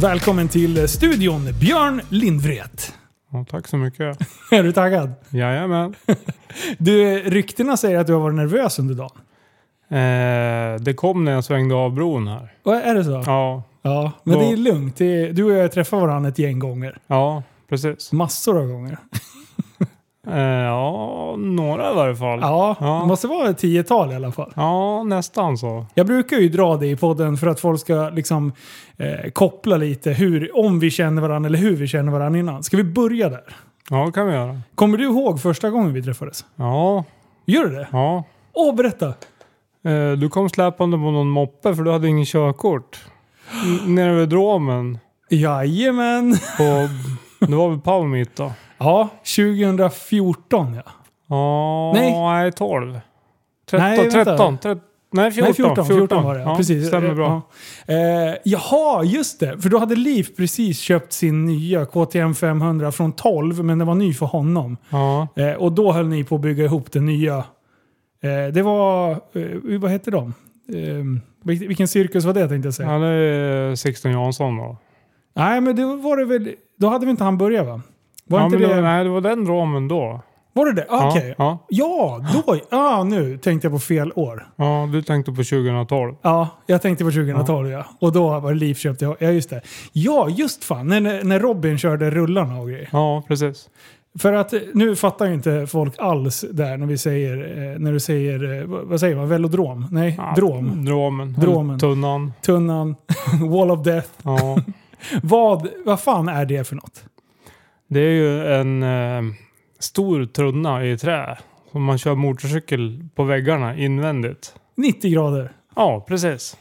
Välkommen till studion, Björn Lindvret. Ja, tack så mycket. Är du taggad? Jajamän. Du, ryktena säger att du har varit nervös under dagen. Eh, det kom när jag svängde av bron här. Och Är det så? Ja, Ja, men Då- det är lugnt. Det är, du och jag har träffat varandra ett gäng gånger. ja precis. Massor av gånger. Eh, ja, några i varje fall. Ja, Ja, det måste vara ett tiotal i alla fall. nästan så. Jag brukar ju dra det i podden för att folk ska liksom, eh, koppla lite hur, om vi känner varandra eller hur vi känner varandra innan. Ska vi börja där? Ja, det kan vi göra. Kommer du ihåg första gången vi träffades? Ja, Gör du det? ja. Åh, berätta! Eh, du kom släpande på någon moppe för du hade ingen körkort. N- nere vid Dromen. Jajamän! På, det var väl Palmit då? Ja, 2014 ja. Ja, Nej. nej 12. 13, Nej, vänta. 13, 13. Nej, 14. Nej, 14, 14, var det. Ja, Ja, precis. Stämmer bra. Ja. Eh, jaha, just det. För då hade Liv precis köpt sin nya KTM 500 från 12, men den var ny för honom. Ja. Eh, och då höll ni på att bygga ihop den nya. Eh, det var, eh, vad hette de? Eh, vil- vilken cirkus var det tänkte jag säga? Ja, det är Sixten Jansson då. Nej, men då var det väl, då hade vi inte han börjat va? Var ja, inte men det, nej, det var den ramen då. var det det? Ah, Okej. Ja, Ja, då, ah, nu tänkte jag på fel år. ja, ja, du tänkte på 2012. Ja, jag tänkte på 2012 ja. Och då var det Liv köpte, ja just det. Ja, just fan, när, när Robin körde rullarna och grejer. Ja, precis. För att eh, nu fattar ju inte folk alls där när vi säger, eh, när du säger, eh, vad vad säger man, velodrom? Nej, Ja, Mm. drom. Dromen. Dromen. Tunnan. Tunnan, Wall of Death. Ja. Vad, vad fan är det för något? det är ju en eh, stor tunna i trä som man kör motorcykel på väggarna invändigt. 90 grader. Ja, precis.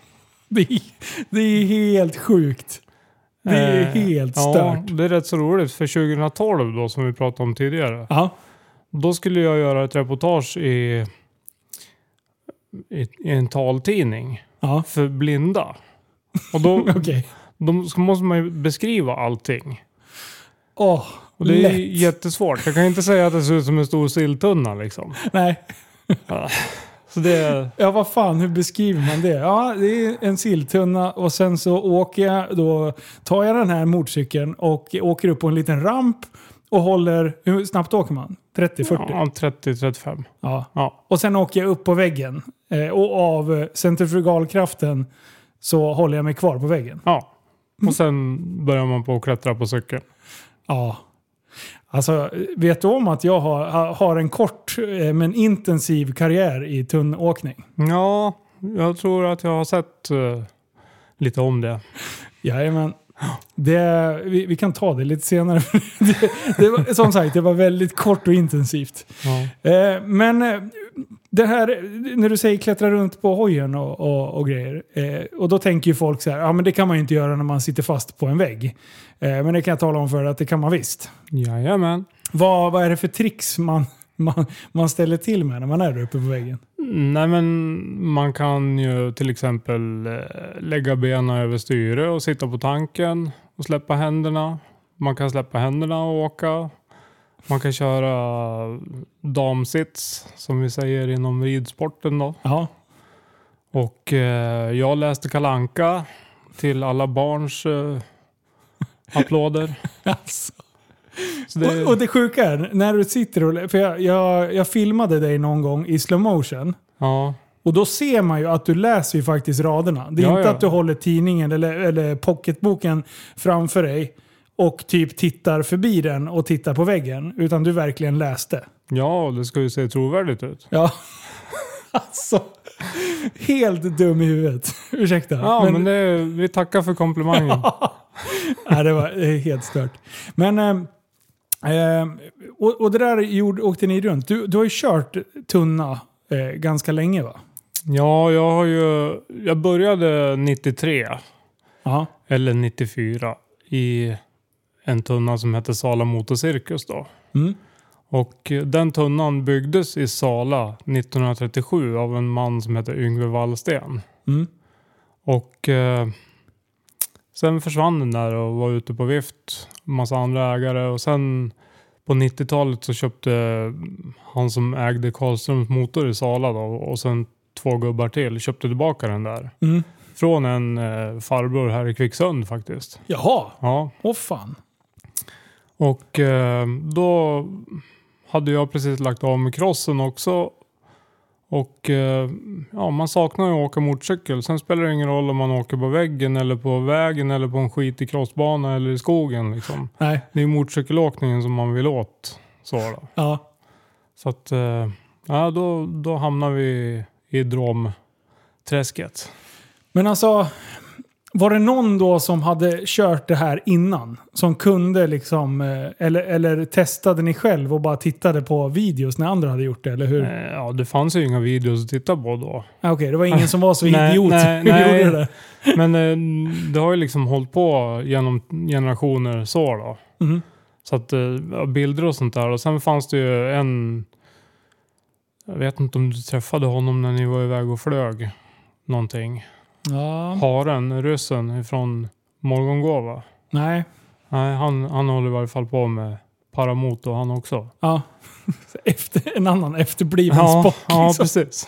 Det är, det är helt sjukt. Det är Eh, helt Ja, stört. det är rätt så roligt för 2012 då som vi pratade om tidigare. Ja. Då skulle jag göra ett reportage i, i, i en taltidning Ja. för blinda. Och då, Okej. De så måste man ju beskriva allting. Åh, Och det är ju lätt. jättesvårt. Jag kan inte säga att det ser ut som en stor silltunna liksom. Nej. Så det... Ja, vad fan, hur beskriver man det? Ja, det är en silltunna och sen så åker jag, då tar jag den här motorcykeln och åker upp på en liten ramp och håller, hur snabbt åker man? 30-40? Ja. Ja, 30-35. Ja. Och sen åker jag upp på väggen eh, och av eh, centrifugalkraften så håller jag mig kvar på väggen. ja. Och sen börjar man på att klättra på cykeln. Ja. Alltså, vet du om att jag har, ha- har en kort eh, men intensiv karriär i tunnåkning? Ja, jag tror att jag har sett eh, lite om det. Jajamän. Det, vi, vi kan ta det lite senare. det, det var, som sagt, det var väldigt kort och intensivt. Ja. Eh, men eh, det här, när du säger klättra runt på hojen och, och, och grejer. Eh, och då tänker ju folk så här, ja men det kan man ju inte göra när man sitter fast på en vägg. Eh, men det kan jag tala om för dig att det kan man visst. Jajamän. Vad, vad är det för tricks man, man, man ställer till med när man är där uppe på väggen? Nej men man kan ju till exempel eh, lägga benen över styre och sitta på tanken och släppa händerna. Man kan släppa händerna och åka. Man kan köra damsits som vi säger inom ridsporten då. Ja. Och eh, jag läste Kalanka till alla barns eh, applåder. Alltså. Så det, Och, och det sjuka är, när du sitter och... För jag, jag, jag filmade dig någon gång i slow motion. ja, Och då ser man ju att du läser ju faktiskt raderna. Det är Ja, inte ja. att du håller tidningen eller, eller pocketboken framför dig och typ tittar förbi den och tittar på väggen. Utan du verkligen läste. ja, det ska ju se trovärdigt ut. Ja. alltså. Helt dum i huvudet. Ursäkta. Ja, men, det, vi tackar för komplimangen. Nej, det var det är helt stört. Men... eh, Eh, och, och det där gjorde, åkte ni runt. Du, du har ju kört tunna eh, ganska länge va? Ja, jag har ju... Jag började 93, Ja. eller 94, i en tunna som hette Sala Motorcirkus då. Mm. Och eh, den tunnan byggdes i Sala 1937 av en man som hette Yngve Wallsten. Mm. Och eh, sen försvann den där och var ute på vift. Massa andra ägare och sen på 90-talet så köpte han som ägde Karlströms motor i Sala då och sen två gubbar till köpte tillbaka den där. Mm. Från en eh, farbror här i Kvicksund faktiskt. Jaha, Ja, åh fan. och eh, då hade jag precis lagt om crossen också. Och eh, ja, man saknar ju att åka motorcykel. Sen spelar det ingen roll om man åker på väggen eller på vägen eller på en skitig crossbana eller i skogen. Liksom. Nej, Det är motorcykelåkningen som man vill åt. Så, då. ja. så att, eh, ja, då, då hamnar vi i dromträsket. Men alltså, var det någon då som hade kört det här innan? Som kunde liksom, eh, eller, eller testade ni själv och bara tittade på videos när andra hade gjort det, eller hur? Eh, Ja, det fanns ju inga videos att titta på då. Ah, Okej, det var ingen som var så Nej, idiot nej, som nej. gjorde det. Men eh, det har ju liksom hållit på genom generationer så då. Mm. Så att eh, ja, bilder och sånt där. Och sen fanns det ju en... Jag vet inte om du träffade honom när ni var iväg och flög någonting. Ja. Haren, ryssen ifrån Morgongåva. Nej. Nej, han, han håller i varje fall på med paramotor han också. Ja. Efter, en annan efterbliven Spock. ja liksom. precis.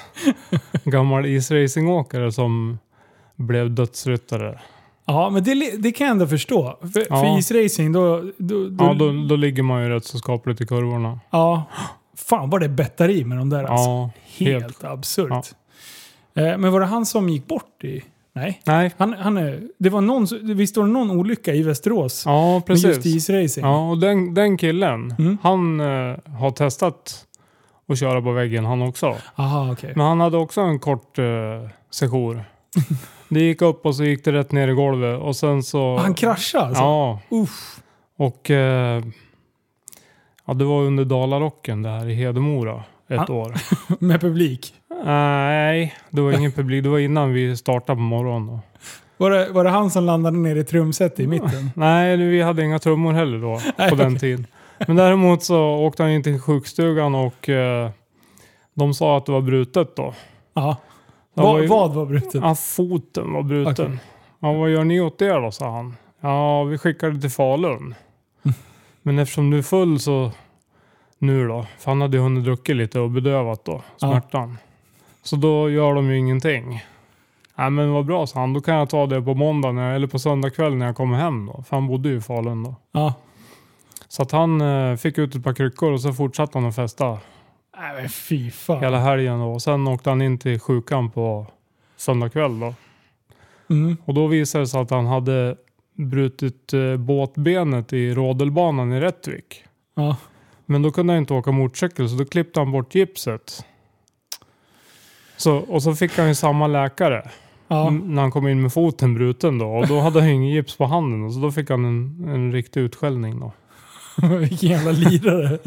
Gammal isracingåkare som blev dödsryttare. ja, men det, li- det kan jag ändå förstå. För, för Ja. isracing, då... då, då, Ja, då, då ligger man ju rätt så skapligt i kurvorna. ja. Fan vad det bettar i med de där alltså. Ja, Helt, helt. absurt. Eh, Men var det han som gick bort i... Nej. nej. Han, han är, det var någon, visst var det någon olycka i Västerås? Ja, med just precis. isracing? Ja, och den, den killen, Mm. han eh, har testat att köra på väggen han också. Aha, okej. Men han hade också en kort eh, sejour. det gick upp och så gick det rätt ner i golvet och sen så... Han kraschade alltså? Ja. Uff. Och eh, ja, det var under Dalarocken det här i Hedemora ett Han- år. Eh, Med publik? Nej, det var ingen publik. Det var innan vi startade på morgonen. Var det, var det han som landade ner i trumset i mitten? Nej, vi hade inga trummor heller då Nej, på den okej. tiden. Men däremot så åkte han in till sjukstugan och eh, de sa att det var brutet då. Ja. Han Va, var ju- Vad var brutet? Ja, foten var bruten. Okej. Ja, vad gör ni åt det då, sa han. Ja, vi skickar det till Falun. Men eftersom du är full så nu då, för han hade ju hunnit druckit lite och bedövat då, Ja. smärtan. Så då gör de ju ingenting. Nej men vad bra, sa han. Då kan jag ta det på måndag när, eller på söndag kväll när jag kommer hem då. För han bodde ju i Falun då. Ja. Så att han eh, fick ut ett par kryckor och så fortsatte han att festa Nej men fy fan. hela helgen då. Och sen åkte han in till sjukan på söndag kväll då. Mm. Och då visade det sig att han hade brutit eh, båtbenet i rodelbanan i Rättvik. Ja. Men då kunde han inte åka motorcykel så då klippte han bort gipset. Så, och så fick han ju samma läkare Ja. m- när han kom in med foten bruten då. Och då hade han ju ingen gips på handen och så då fick han en, en riktig utskällning då. Vilken jävla lirare.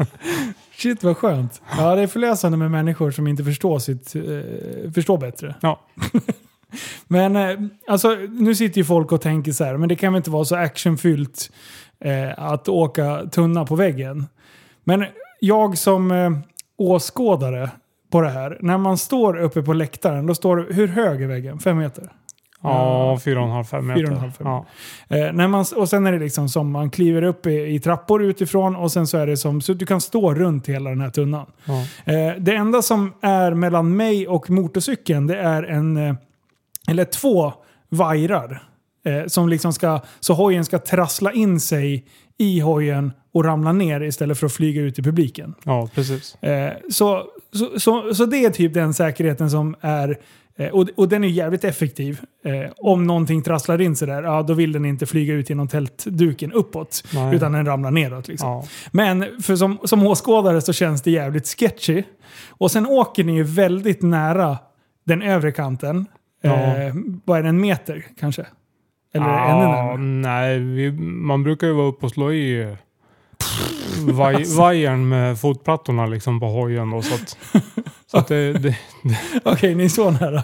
Shit vad skönt. Ja det är förlösande med människor som inte förstår, sitt, eh, förstår bättre. Ja. men eh, alltså, nu sitter ju folk och tänker så här, men det kan väl inte vara så actionfyllt eh, att åka tunna på väggen. Men jag som eh, åskådare på det här, när man står uppe på läktaren, då står det, hur hög är väggen? Fem meter? Ja, fyra och en halv, fem meter. Fyra och en halv, fem. Ja. Eh, när man, och sen är det liksom som man kliver upp i, i trappor utifrån och sen så är det som så du kan stå runt hela den här tunnan. Ja. Eh, det enda som är mellan mig och motorcykeln det är en, eh, eller två vajrar. Eh, som liksom ska, så hojen ska trassla in sig i hojen och ramla ner istället för att flyga ut i publiken. ja, precis. Eh, så, så, så, så det är typ den säkerheten som är, eh, och, och den är jävligt effektiv. Eh, om någonting trasslar in sig där, ja, då vill den inte flyga ut genom tältduken uppåt, Nej. utan den ramlar neråt. Liksom. Ja. Men för som, som åskådare så känns det jävligt sketchy. Och sen åker ni ju väldigt nära den övre kanten. Ja. Eh, vad är det, en meter kanske? Eller Ja, ännu närmare? Nej, vi, man brukar ju vara uppe och slå i eh, vaj, Alltså. vajern med fotplattorna liksom på hojen. Då, så att, så att det, det, Okej, ni är så nära.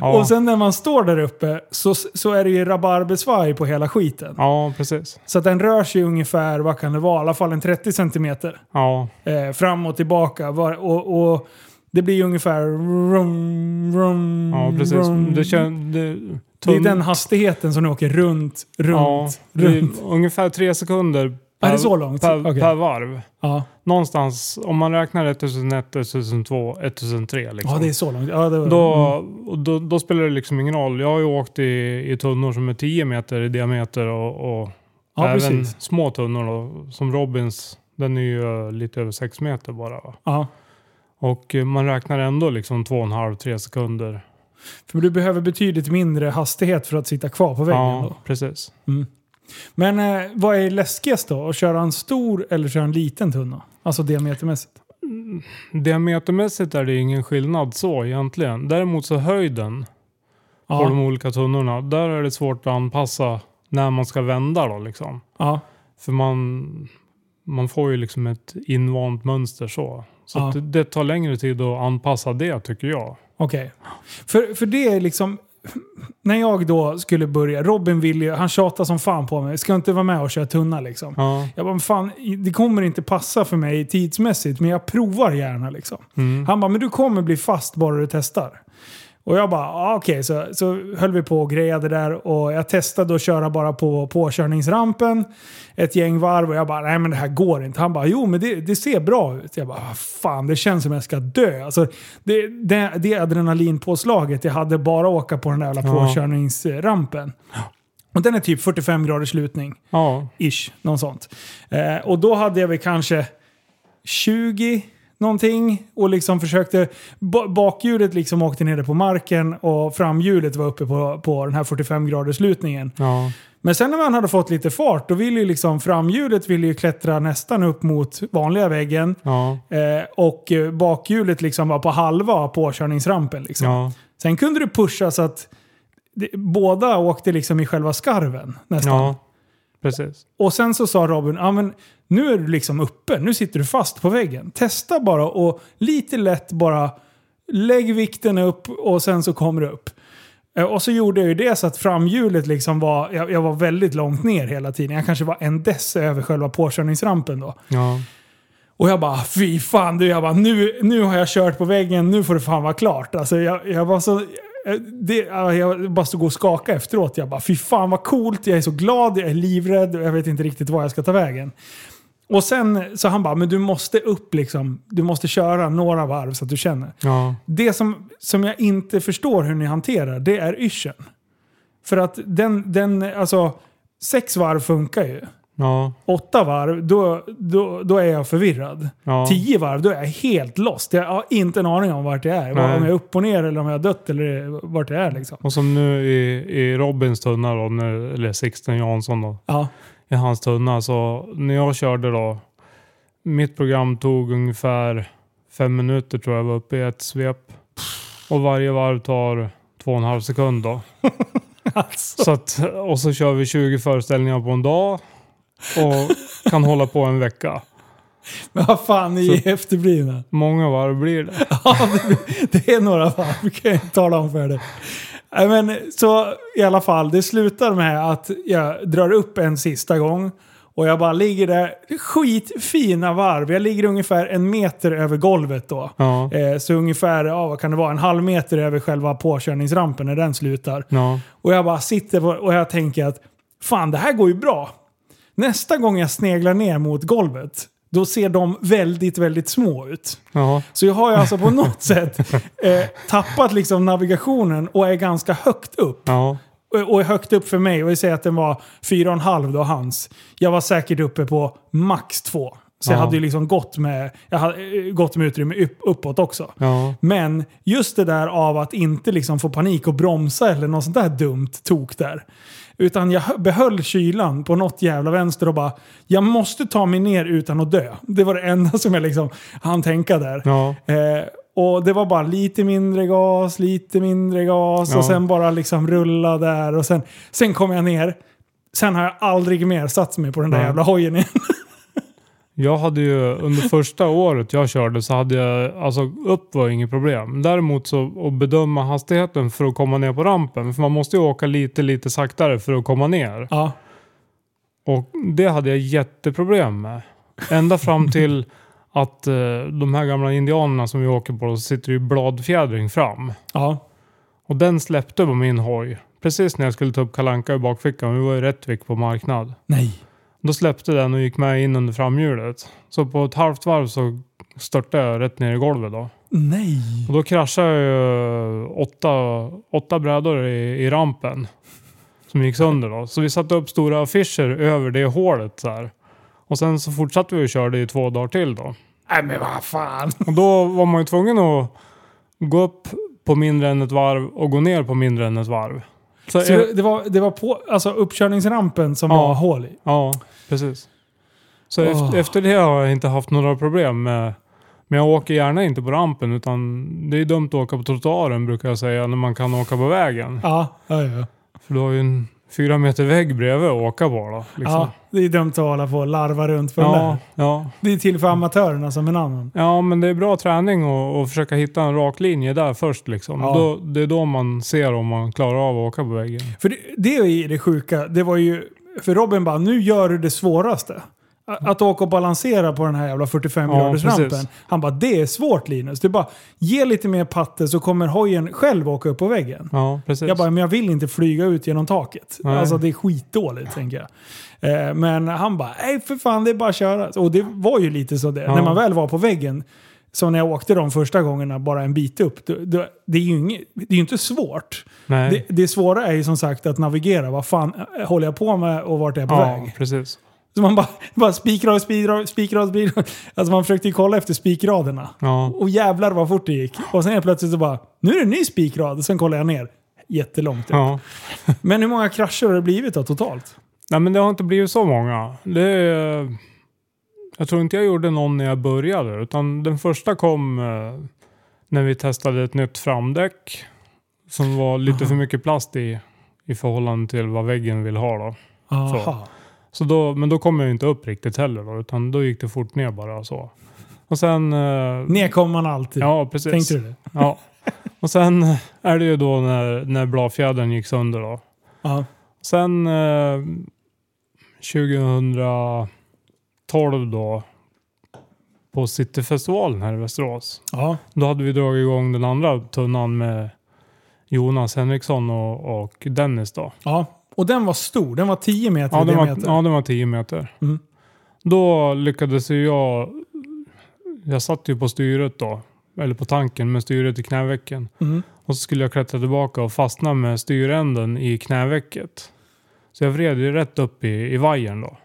ja, Och sen när man står där uppe så, så är det ju rabarbersvaj på hela skiten. ja, precis. Så att den rör sig ungefär, vad kan det vara, i alla fall en 30 centimeter. Ja, Eh, fram och tillbaka. Var, och, och det blir ungefär... Rum, rum, ja precis. rum. Det, kän, det, Mm, det är tunn- den hastigheten som ni åker runt, runt, ja, det är runt. Ungefär tre sekunder är det så långt? Per, Okej. per varv. Ja. Någonstans, om man räknar 1001, 1002, 1003 liksom. ja, det är så långt. Ja, det var, Mm. då, och då, då spelar det liksom ingen roll. Jag har ju åkt i, i tunnor som är 10 meter i diameter och, och ja, även precis. små tunnor då, som Robins. Den är ju eh, lite över 6 meter bara. Va? Ja. Och eh, man räknar ändå liksom 2,5-3 sekunder. För du behöver betydligt mindre hastighet för att sitta kvar på väggen. Ja, Då. precis. Men eh, vad är läskigast då? Att köra en stor eller köra en liten tunna? Alltså diametermässigt. Diametermässigt är det ingen skillnad så egentligen. Däremot så höjden på de Ja. olika tunnorna, där är det svårt att anpassa när man ska vända då liksom. ja. För man, man får ju liksom ett invant mönster så. Så Ja. att det, det tar längre tid att anpassa det tycker jag. Okej. För, för det är liksom... När jag då skulle börja, Robin ville ju, han tjatade som fan på mig. Ska jag inte vara med och köra tunna liksom? Ja. Jag bara, "Men fan, det kommer inte passa för mig tidsmässigt, men jag provar gärna liksom. Mm. Han bara, men du kommer bli fast bara du testar. Och jag bara, ah, okej, så, så höll vi på och grejade där och jag testade att köra bara på påkörningsrampen ett gäng varv och jag bara, nej men det här går inte. Han bara, jo men det, det ser bra ut. Jag bara, "Ah, fan det känns som jag ska dö. Alltså, det, det, det adrenalinpåslaget jag hade bara att åka på den där jävla Ja. påkörningsrampen. Och den är typ 45 graders lutning. ja. Ish, något sånt. Eh, och då hade jag väl kanske 20 någonting och liksom försökte... ba- Bakhjulet liksom åkte nere på marken och framhjulet var uppe på, på den här 45 graders lutningen. Ja. Men sen när man hade fått lite fart då ville ju liksom framhjulet ville ju klättra nästan upp mot vanliga väggen. Ja. Eh, och eh, bakhjulet liksom var på halva påkörningsrampen. Liksom. Ja. Sen kunde du pusha så att det, båda åkte liksom i själva skarven nästan. ja. Precis. Och sen så sa Robin, ja men nu är du liksom uppe, nu sitter du fast på väggen. Testa bara och lite lätt bara lägg vikten upp och sen så kommer du upp. Eh, Och så gjorde jag ju det så att framhjulet liksom var, jag, jag var väldigt långt ner hela tiden. Jag kanske var en dess över själva påkörningsrampen då. Ja. Och jag bara, fy fan du, jag bara, nu, nu har jag kört på väggen, nu får det fan vara klart. Alltså jag, jag var så... eh, Det, ja, jag bara stod och skakade efteråt. Jag bara, fy fan vad coolt, jag är så glad, jag är livrädd och jag vet inte riktigt var jag ska ta vägen. Och sen så han bara, men du måste upp liksom. Du måste köra några varv så att du känner. Ja. Det som, som jag inte förstår hur ni hanterar, det är yrseln. För att den, den, alltså, sex varv funkar ju. Ja. Åtta varv, då, då, då är jag förvirrad. Ja. Tio varv, då är jag helt lost. Jag har inte en aning om vart jag är. Om Nej. jag är upp och ner eller om jag har dött eller vart jag är liksom. Och som nu i, i Robins tunna då, nu, eller Sixten Jansson då, Ja, i hans tunna. Så när jag körde då, mitt program tog ungefär fem minuter tror jag var uppe i ett svep. Och varje varv tar två och en halv sekund då. alltså. Så att, och så kör vi 20 föreställningar på en dag. Och kan hålla på en vecka. Men vad fan, ni är efterblivna. Många varv blir det. Ja, det- det är några varv, kan jag inte tala om för dig. Nej, Men, så i alla fall, det slutar med att jag drar upp en sista gång. Och jag bara ligger där, skitfina varv. Jag ligger ungefär en meter över golvet då. Ja. Eh, Så ungefär, ja vad kan det vara, en halv meter över själva påkörningsrampen när den slutar. Ja. Och jag bara sitter på, och jag tänker att fan det här går ju bra. Nästa gång jag sneglar ner mot golvet, då ser de väldigt, väldigt små ut. Ja. Så jag har ju alltså på något sätt eh, tappat liksom navigationen och är ganska högt upp. Ja. Och- Och är högt upp för mig, och vi säger att den var 4,5 då hans. Jag var säkert uppe på max 2. Så jag Ja. hade ju liksom gått med, jag hade eh, gått med utrymme upp, uppåt också. Ja. Men just det där av att inte liksom få panik och bromsa eller något sånt där dumt tok där. Utan jag hö- behöll kylan på något jävla vänster och bara jag måste ta mig ner utan att dö. Det var det enda som jag liksom hann tänka där. Ja. Eh, och det var bara lite mindre gas, lite mindre gas Ja. och sen bara liksom rulla där och sen, sen kom jag ner. Sen har jag aldrig mer satt mig på den där Nej. jävla hojen igen. Jag hade ju under första året jag körde så hade jag, alltså upp var inget problem. Däremot så att bedöma hastigheten för att komma ner på rampen. För man måste ju åka lite, lite saktare för att komma ner. Ja, Och det hade jag jätteproblem med. Ända fram till att eh, de här gamla indianerna som vi åker på, så sitter ju bladfjädring fram. ja, Och den släppte på min hoj. Precis när jag skulle ta upp Kalanka i bakfickan. Vi var i Rättvik på marknad. nej. Då släppte den och gick med in under framhjulet. Så på ett halvt varv så störtade jag rätt ner i golvet då. Nej! Och då kraschade jag ju eh, åtta, åtta brädor i, i rampen. Som gick sönder då. Så vi satte upp stora affischer över det hålet så här. Och sen så fortsatte vi och körde i två dagar till då. Nej men vad fan! Och då var man ju tvungen att gå upp på mindre än ett varv och gå ner på mindre än ett varv. Så, Så eh, det, det, var, det var på alltså, uppkörningsrampen som Ja. var hål i? Ja, precis. Så Åh. efter, efter det har jag inte haft några problem med... Men jag åker gärna inte på rampen utan det är dumt att åka på trottoaren brukar jag säga när man kan åka på vägen. Ja, ja, ja. För du har ju en fyra meter vägg bredvid att åka på då. Liksom. ja. Det är dumt att hålla på och larva runt på den ja, där. ja. Det är till för amatörerna som en annan. Ja, men det är bra träning att att försöka hitta en rak linje där först. Liksom. Ja. Då, det är då man ser om man klarar av att åka på väggen. För det, det är ju det sjuka. Det var ju, för Robin bara, nu gör du det svåraste. A- Att åka och balansera på den här jävla 45 Ja, graders rampen. precis. Han bara, det är svårt Linus. Du bara, ge lite mer patte så kommer hojen själv åka upp på väggen. Ja, precis. Jag bara, men jag vill inte flyga ut genom taket. Nej. Alltså det är skitdåligt tänker jag. Eh, Men han bara, nej för fan det är bara att köra. Och det var ju lite så det. Ja. När man väl var på väggen, som när jag åkte de första gångerna bara en bit upp. Det, det, det är ju inget, det är ju inte svårt. Nej. Det, det svåra är ju som sagt att navigera. Vad fan eh, håller jag på med och vart är jag på ja, väg? precis. Så man bara, bara spikrad, spikrad, spikrad, spikrad. Alltså man försökte ju kolla efter spikraderna. Ja. Och jävlar vad fort det gick. Och sen helt plötsligt så bara, nu är det en ny spikrad. Sen kollar jag ner. Jättelångt. upp. Ja. Men hur många krascher har det blivit då totalt? Nej, men det har inte blivit så många. Det är, jag tror inte jag gjorde någon när jag började, utan den första kom eh, när vi testade ett nytt framdäck som var lite Aha. för mycket plast i, i förhållande till vad väggen vill ha. Då. Aha. Så då, men då kom jag ju inte upp riktigt heller, då, utan då gick det fort ner bara. och Så. Och sen... eh, Ner kommer man alltid. Ja, precis. Tänkte du det? Ja. Och sen är det ju då när, när bladfjädern gick sönder. Då. Ja. Sen eh, 2012 då på Cityfestivalen här i Västerås. ja. Då hade vi dragit igång den andra tunnan med Jonas Henriksson och, och Dennis då. ja. Och den var stor. Den var 10 meter Ja i den, var, diameter. ja, den var 10 meter. Mm. Då lyckades ju jag... Jag satt ju på styret då. Eller på tanken med styret i knävecken. Mm. Och så skulle jag klättra tillbaka och fastna med styränden i knävecket. Så jag vred ju rätt upp i, i vajern då.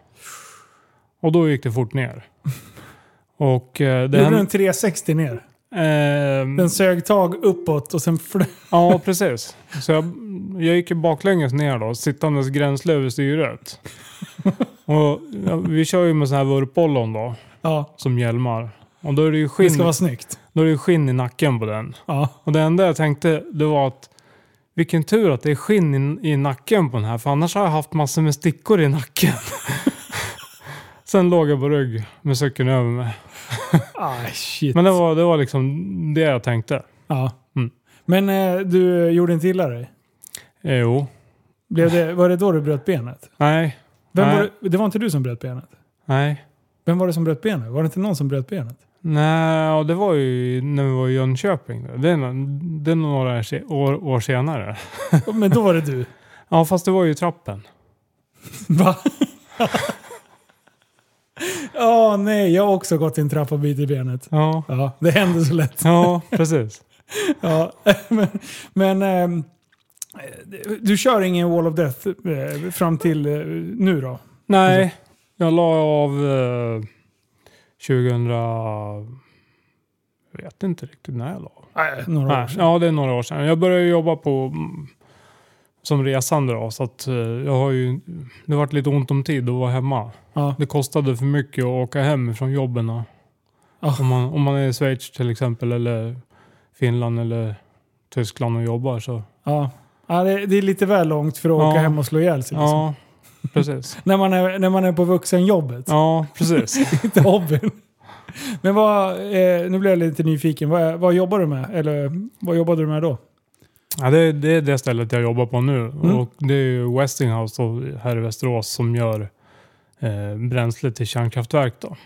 Och då gick det fort ner. Och eh, Den... Gjorde den... den 360 ner. ehm, Den sög tag uppåt och sen... flö- ja, precis. Så jag, jag gick ju baklänges ner då, sittandes gränsle över styret. Och ja, vi kör ju med sån här vurpollon då, Ja, som hjälmar. Och då är det ju det skinn, ska vara snyggt. då är det ju skinn i nacken på den. Ja. Och det enda jag tänkte det var att vilken tur att det är skinn i, i nacken på den här för annars har jag haft massor med stickor i nacken. Sen låg jag på rygg med cykeln över mig. Ah, shit. Men det var, det var liksom det jag tänkte. ja. Mm. Men eh, du gjorde inte illa dig? Eh, Jo. Blev det, var det då du bröt benet? Nej. Vem Nej. var det, det var inte du som bröt benet? Nej. Vem var det som bröt benet? Var det inte någon som bröt benet? Nej, och det var ju när vi var i Jönköping. Det är, nå- det är några se- år, år senare. Men då var det du. Ja, fast det var ju i trappen. Va? Ja, nej, jag har också gått i en trappa och bitit i benet. Ja, Ja, det händer så lätt. ja precis. Ja, men men ehm, du kör ingen Wall of Death eh, fram till eh, nu då? Alltså- Nej, jag la av eh, 2000... Jag vet inte riktigt när jag la av. Nej, några år Nej, sedan. ja, det är några år sedan. Jag började jobba på mm, som resande då, så att eh, jag har ju... Det varit lite ont om tid att vara hemma. Ja. Det kostade för mycket att åka hem från jobben. då. Ja. Om, man, om man är i Schweiz till exempel eller Finland eller Tyskland och jobbar så... Ja. Ja, det, det är lite väl långt för att Ja. åka hem och slå ihjäl sig. Liksom. Ja, precis. När, man är, när man är på vuxenjobbet, Ja, precis. inte hobbyn. Men vad, eh, nu blev jag lite nyfiken. Vad, vad jobbar du med? Eller vad jobbade du med då? Ja, det, det är det stället jag jobbar på nu. Mm. Och det är ju Westinghouse då, här i Västerås som gör eh, bränsle till kärnkraftverk. Då.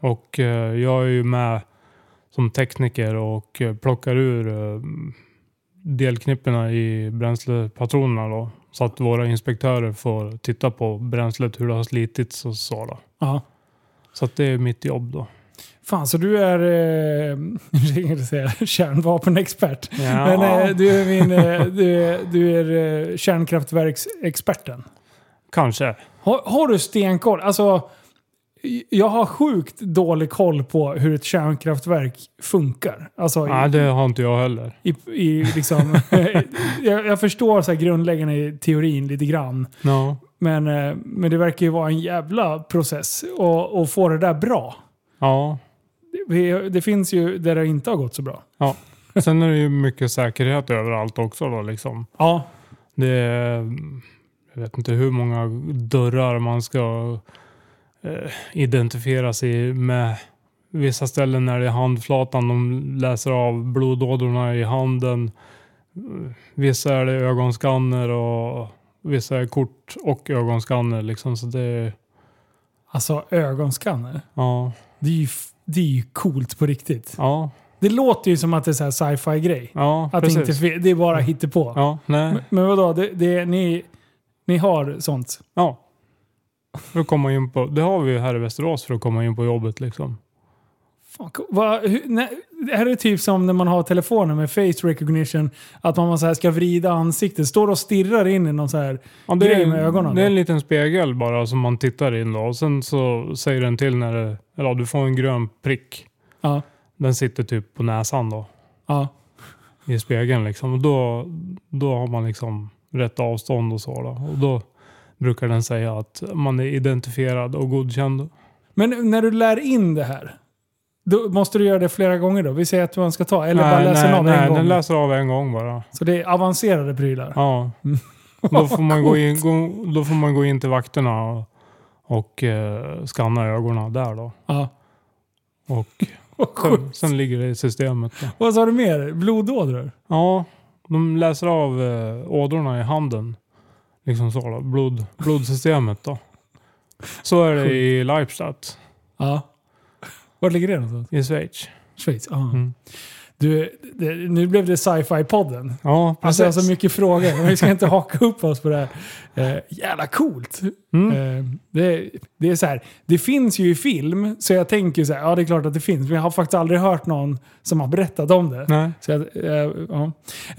Och eh, jag är ju med som tekniker och eh, plockar ur eh, delknipporna i bränslepatronerna då, Så att våra inspektörer får titta på bränslet, hur det har slitits och så. Då. Ja. Så att det är mitt jobb då. Fan, så du är eh, jag tänkte säga, kärnvapenexpert. Ja. Men eh, du är, min, eh, du är, du är eh, kärnkraftverksexperten. Kanske. Har, har du stenkoll? Alltså, j- jag har sjukt dålig koll på hur ett kärnkraftverk funkar. Alltså, i, Nej, det har inte jag heller. i, i, liksom, jag, jag förstår så här grundläggande i teorin lite grann. No. Men, eh, men det verkar ju vara en jävla process och, och få det där bra. Ja. Det, det finns ju där det inte har gått så bra. Sen är det ju mycket säkerhet överallt också då liksom. Ja, Det är, jag vet inte hur många dörrar man ska eh, identifiera sig med. Vissa ställen när det är handflatan, de läser av blodådrorna i handen. Vissa är det ögonskanner och vissa är kort och ögonskanner liksom. Så det är, Alltså ögonskanner. ja, Det är ju, f- det är ju coolt på riktigt. ja, Det låter ju som att det är så här sci-fi grej. ja, Att det, precis. Mm. inte, fe- det är bara hittepå. Ja, nej, Men, men vadå, det, det, ni, ni har sånt? ja. För att komma in på, det har vi ju här i Västerås för att komma in på jobbet liksom. Fan, co- vad- hur, nej, det här är typ som när man har telefoner med face recognition. Att man så här ska vrida ansiktet. Står och stirrar in i någon så här... Ja, det, grej är, med ögonen, det är då? en liten spegel bara som man tittar in då. Och sen så säger den till när det, eller ja, du får en grön prick. Ja, Den sitter typ på näsan då. ja. I spegeln liksom. Och då, då har man liksom rätt avstånd och så då. Och då brukar den säga att man är identifierad och godkänd. Men när du lär in det här. Då måste du göra det flera gånger då? Vi säger att man ska ta, eller bara läser nej, någon nej, en gång. den läser av en gång bara. Så det är avancerade prylar. Ja. Då får man gå in, gå, då får man gå in till vakterna och, och eh, skanna ögonen där då. Ja. Och Vad sjukt. sen, sen ligger det i systemet då. Vad sa du mer? Blodådror? Ja, de läser av eh, ådrorna i handen. Liksom så då. Blod, blodsystemet då. Så är det i Leipstadt Ja. Var ligger det någonstans? i Schweiz. Schweiz? Ja. Mm. Du, det, nu blev det sci-fi-podden. Ja, Alltså precis. jag har så mycket frågor, men vi ska inte haka upp oss på det här. Eh, jävla coolt! Mm. Eh, det, det är så här, det finns ju i film, så jag tänker så här, ja det är klart att det finns, men jag har faktiskt aldrig hört någon som har berättat om det. Nej. Så jag, eh, ja.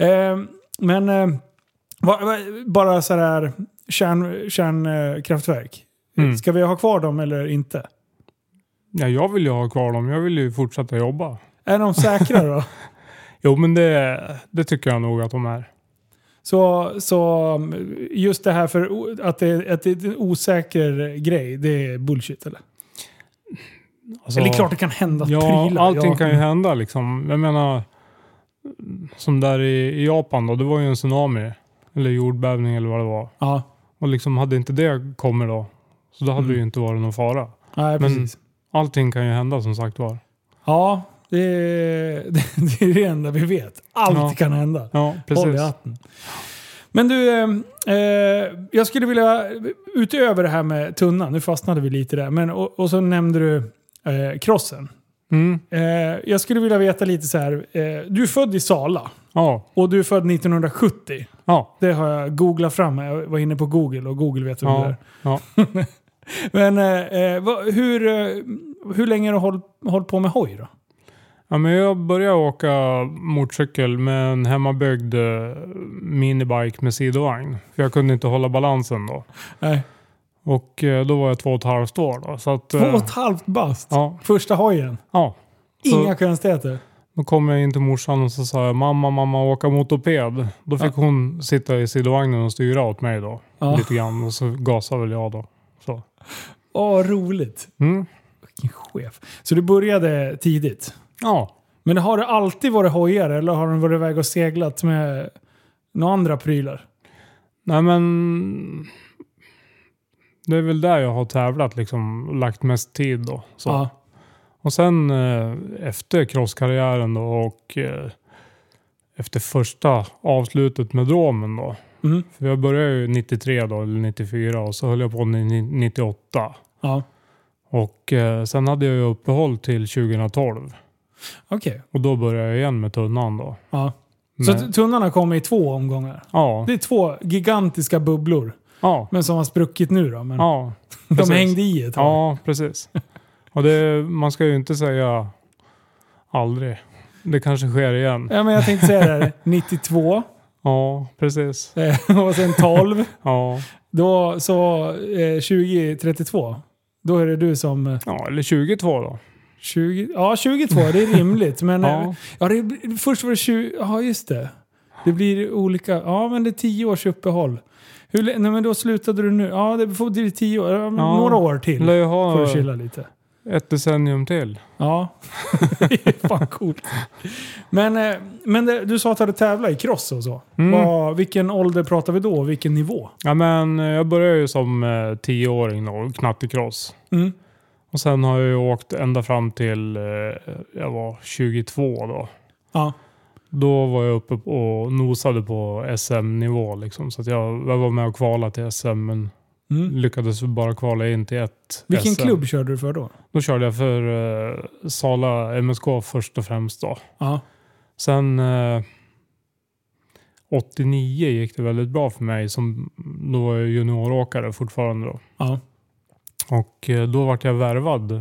eh, men eh, va, va, bara så här kärn, kärnkraftverk. Mm. Ska vi ha kvar dem eller inte? Ja, jag vill ju ha kvar dem. Jag vill ju fortsätta jobba. Är de säkra då? Jo, men det, det tycker jag nog att de är. så, så just det här för o- att det, att det är en osäker grej, det är bullshit eller? Alltså, Eller klart det kan hända att Ja, prylar. allting ja. kan ju hända liksom. Jag menar, som där i, i Japan då. Det var ju en tsunami. Eller jordbävning eller vad det var. Ja, Och liksom hade inte det kommit då, så då hade Mm. det ju inte varit någon fara. nej Men- precis. Allting kan ju hända som sagt var. Ja, det, det, det är det enda vi vet. Allt Ja. kan hända. Ja, Håll i precis. hatten. Men du, eh, eh, jag skulle vilja, utöver det här med tunnan, nu fastnade vi lite där, men, och, och så nämnde du eh, crossen. Mm. Eh, jag skulle vilja veta lite så här, eh, du är född i Sala Ja, och du är född 1970. ja, Det har jag googlat fram. Jag var inne på Google och Google vet hur det ja, är. ja. Men eh, eh, vad- hur, eh, hur länge har du hållit, hållit på med hoj då? ja, men jag började åka motorcykel med en hemmabyggd eh, minibike med sidovagn. För jag kunde inte hålla balansen då. Nej. Och eh, då var jag två och ett halvt år då. Så att, eh, Två och ett halvt bast. Ja, Första hojen. ja. Så- Inga konstigheter. Då kom jag in till morsan och så sa jag mamma, mamma åka motoped. Då fick hon sitta i sidovagnen och styra åt mig då. Ja. Lite grann och så gasade väl jag då. Så. Åh, roligt. Mm. Vilken chef. Så du började tidigt. Ja, Men har det alltid varit hojar eller har du varit iväg och seglat med några andra prylar? Nej men... Det är väl där jag har tävlat liksom. och Lagt mest tid då. Så. Ja. Och sen eh, efter crosskarriären då och eh, efter första avslutet med Dromen då. Mm. För jag började ju 93 då, eller 94 och så höll jag på ni- ni- 98. ja. Och eh, sen hade jag ju uppehåll till 2012. Okej. Och då började jag igen med tunnan då. Ja. Så Men- att tunnarna kommer i två omgångar. ja, Det är två gigantiska bubblor. ja, Men som har spruckit nu då. Men ja, de precis. hängde i ett tag. ja, precis. Och det, man ska ju inte säga aldrig. Det kanske sker igen. Ja, men jag tänkte säga det. Här, 92 Ja, precis. eh, och sen 12. Ja, Då så eh, 2032. Då är det du som... eh, ja eller 22 då. 20, ja, 22. Det är rimligt. Men eh, Ja, ja, det, blir- först var det 20... Ja, just det. Det blir olika... Ja, men det är 10 års uppehåll. Hur, lä- nej, men då slutade du nu. Ja, det får bli 10 år. Ja, men Ja. Några år till. lär ju eh, Får ha du chilla lite. ett decennium till. Ja, det är fan coolt. Men, eh, men det, du sa att du hade tävlat i cross och så. Mm. Vad, vilken ålder pratar vi då? Vilken nivå? Ja, men eh, jag började ju som eh, tioåring då, och knattekross. Mm. Och sen har jag ju åkt ända fram till eh, jag var 22 då. Ja. Då var jag uppe och nosade på SM-nivå liksom. Så att jag, jag var med och kvalade till SM men Mm. lyckades bara kvala in till ett Vilken SM. klubb körde du för då? Då körde jag för eh, Sala MSK först och främst då. Ja. Sen eh, 89 gick det väldigt bra för mig. Som, då var jag junioråkare fortfarande då. Ja. Och eh, då vart jag värvad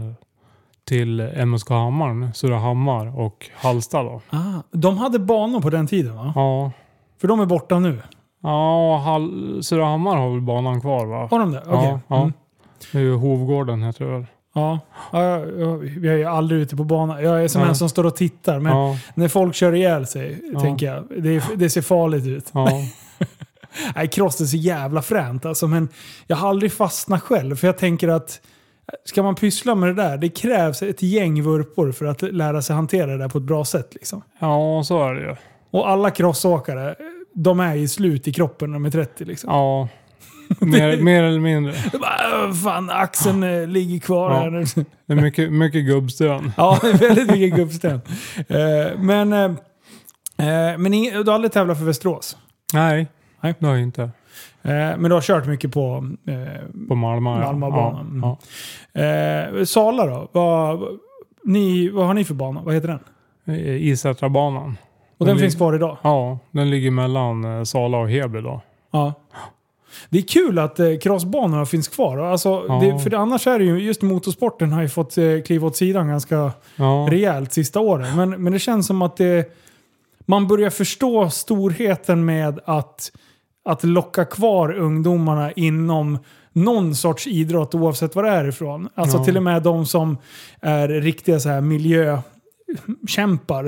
till MSK Hammarn, Surahammar och Hallsta då. Ah, de hade banor på den tiden va? Ja, För de är borta nu. ja Hall- Surahammar har väl banan kvar va? Har de det? Okej. Ja, ja. Mm. Det är ju Hovgården heter det väl? ja. ja. jag- jag- Jag är aldrig ute på banan. Jag är som Nej. en som står och tittar. Men ja, när folk kör ihjäl sig, Ja. tänker jag. Det, är- det ser farligt ut. ja, Nej, cross är så jävla fränt alltså, men jag har aldrig fastnat själv för jag tänker att ska man pyssla med det där, det krävs ett gäng vurpor för att lära sig hantera det där på ett bra sätt. Liksom. ja, så är det ju. Och alla crossåkare, de är ju slut i kroppen när de är 30 liksom. Ja, mer, mer eller mindre. De bara, "Åh, fan axeln eh, ligger kvar Ja. här nu. Det är mycket, mycket gubbstön. Ja, det är väldigt mycket gubbsten. Eh, men eh, eh, men ing- du har aldrig tävlat för Västerås? Nej, Nej. det har jag inte. Eh, men du har kört mycket på eh, På Malmö. ja. Malmöbanan, mm. Ja, Eh, Sala då? Vad, vad- ni, vad har ni för bana? Vad heter den? ja. Eh, Isätrabanan. Och den Den finns lig- kvar idag? Ja, den ligger mellan eh, Sala och Heby då. Ja. Det är kul att eh, crossbanorna finns kvar. Alltså, Ja. det, för det, annars är det ju, just motorsporten har ju fått eh, kliva åt sidan ganska Ja, rejält sista åren. Men, men det känns som att det, man börjar förstå storheten med att, att locka kvar ungdomarna inom någon sorts idrott oavsett vad det är ifrån. Alltså Ja. till och med de som är riktiga så här miljökämpar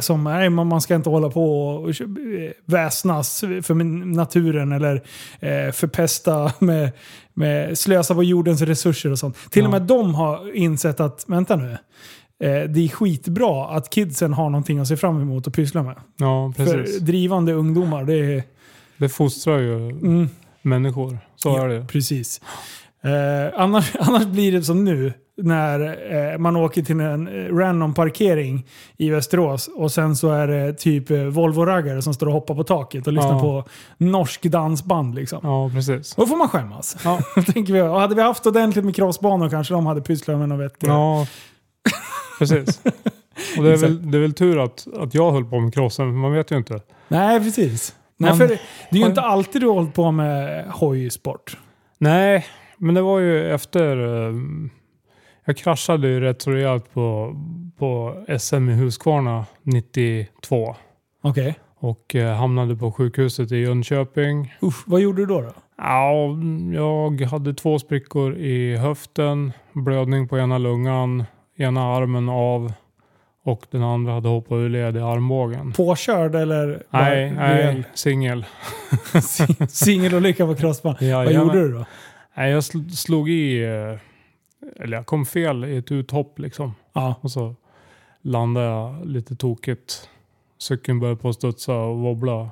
som nej, man man ska inte hålla på och eh, väsnas för min- naturen eller eh, förpesta med, med slösa på jordens resurser och sånt. Till och Ja. med de har insett att vänta nu, Eh, det är skitbra att kidsen har någonting att se fram emot och pyssla med. ja precis. För drivande ungdomar, det är... Det fostrar ju Mm, människor. Så Ja. är det. precis. Eh, annars, annars blir det som nu, när eh, man åker till en eh, random parkering i Västerås och sen så är det typ eh, Volvo-raggare som står och hoppar på taket och lyssnar Ja. på norsk dansband. Liksom. Ja, precis. Då får man skämmas. Ja. tänker vi. Och hade vi haft ordentligt med crossbanor kanske de hade pysslat med något vettigt. Ja, precis. Och det är, Exakt. väl, det är väl tur att, att jag höll på med crossen, för man vet ju inte. Nej, precis. Nej, Man- för det, det är ju inte alltid du har hållit på med hojsport. Nej, men det var ju efter... eh, Jag kraschade ju rätt så rejält på, på SM i Huskvarna 92 Okej. och eh, hamnade på sjukhuset i Jönköping. Usch, vad gjorde du då? då? Ja, jag hade två sprickor i höften, blödning på ena lungan, ena armen av och den andra hade hoppat ur led i armbågen. Påkörd eller? bara Nej, nej rejäl singel. si- Singelolycka på crossband. Vad Jajamän. gjorde du då? Nej, jag sl- slog i, eh, eller jag kom fel i ett uthopp liksom. Ja. Och så landade jag lite tokigt. Cykeln började på att studsa och wobbla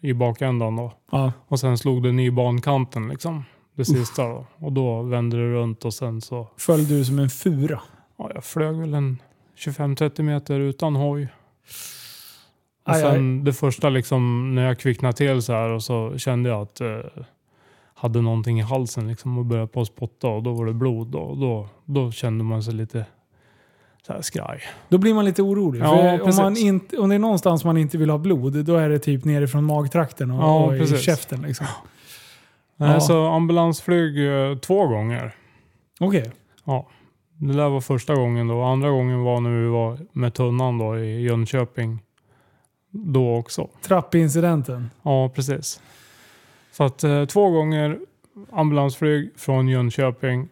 i bakändan då. ja. Och sen slog den i bankanten liksom. Det sista då. Och då vände det runt och sen så, Föll du som en fura? ja jag flög väl en 25-30 meter utan hoj. Och Aj, sen det första liksom när jag kvicknade till så här och så kände jag att eh, hade någonting i halsen liksom och började på att spotta och då var det blod och då, då kände man sig lite så här skraj. Då blir man lite orolig. Ja, för om, precis. man inte, om det är någonstans man inte vill ha blod, då är det typ nerifrån magtrakten och, Ja, och i precis. käften. Liksom. Nej, Ja. så ambulansflyg eh, två gånger. Okej. Det där var första gången då. Andra gången var när vi var med tunnan då i Jönköping. Då också. Trappincidenten. Ja, precis. Så att eh, två gånger ambulansflyg från Jönköping.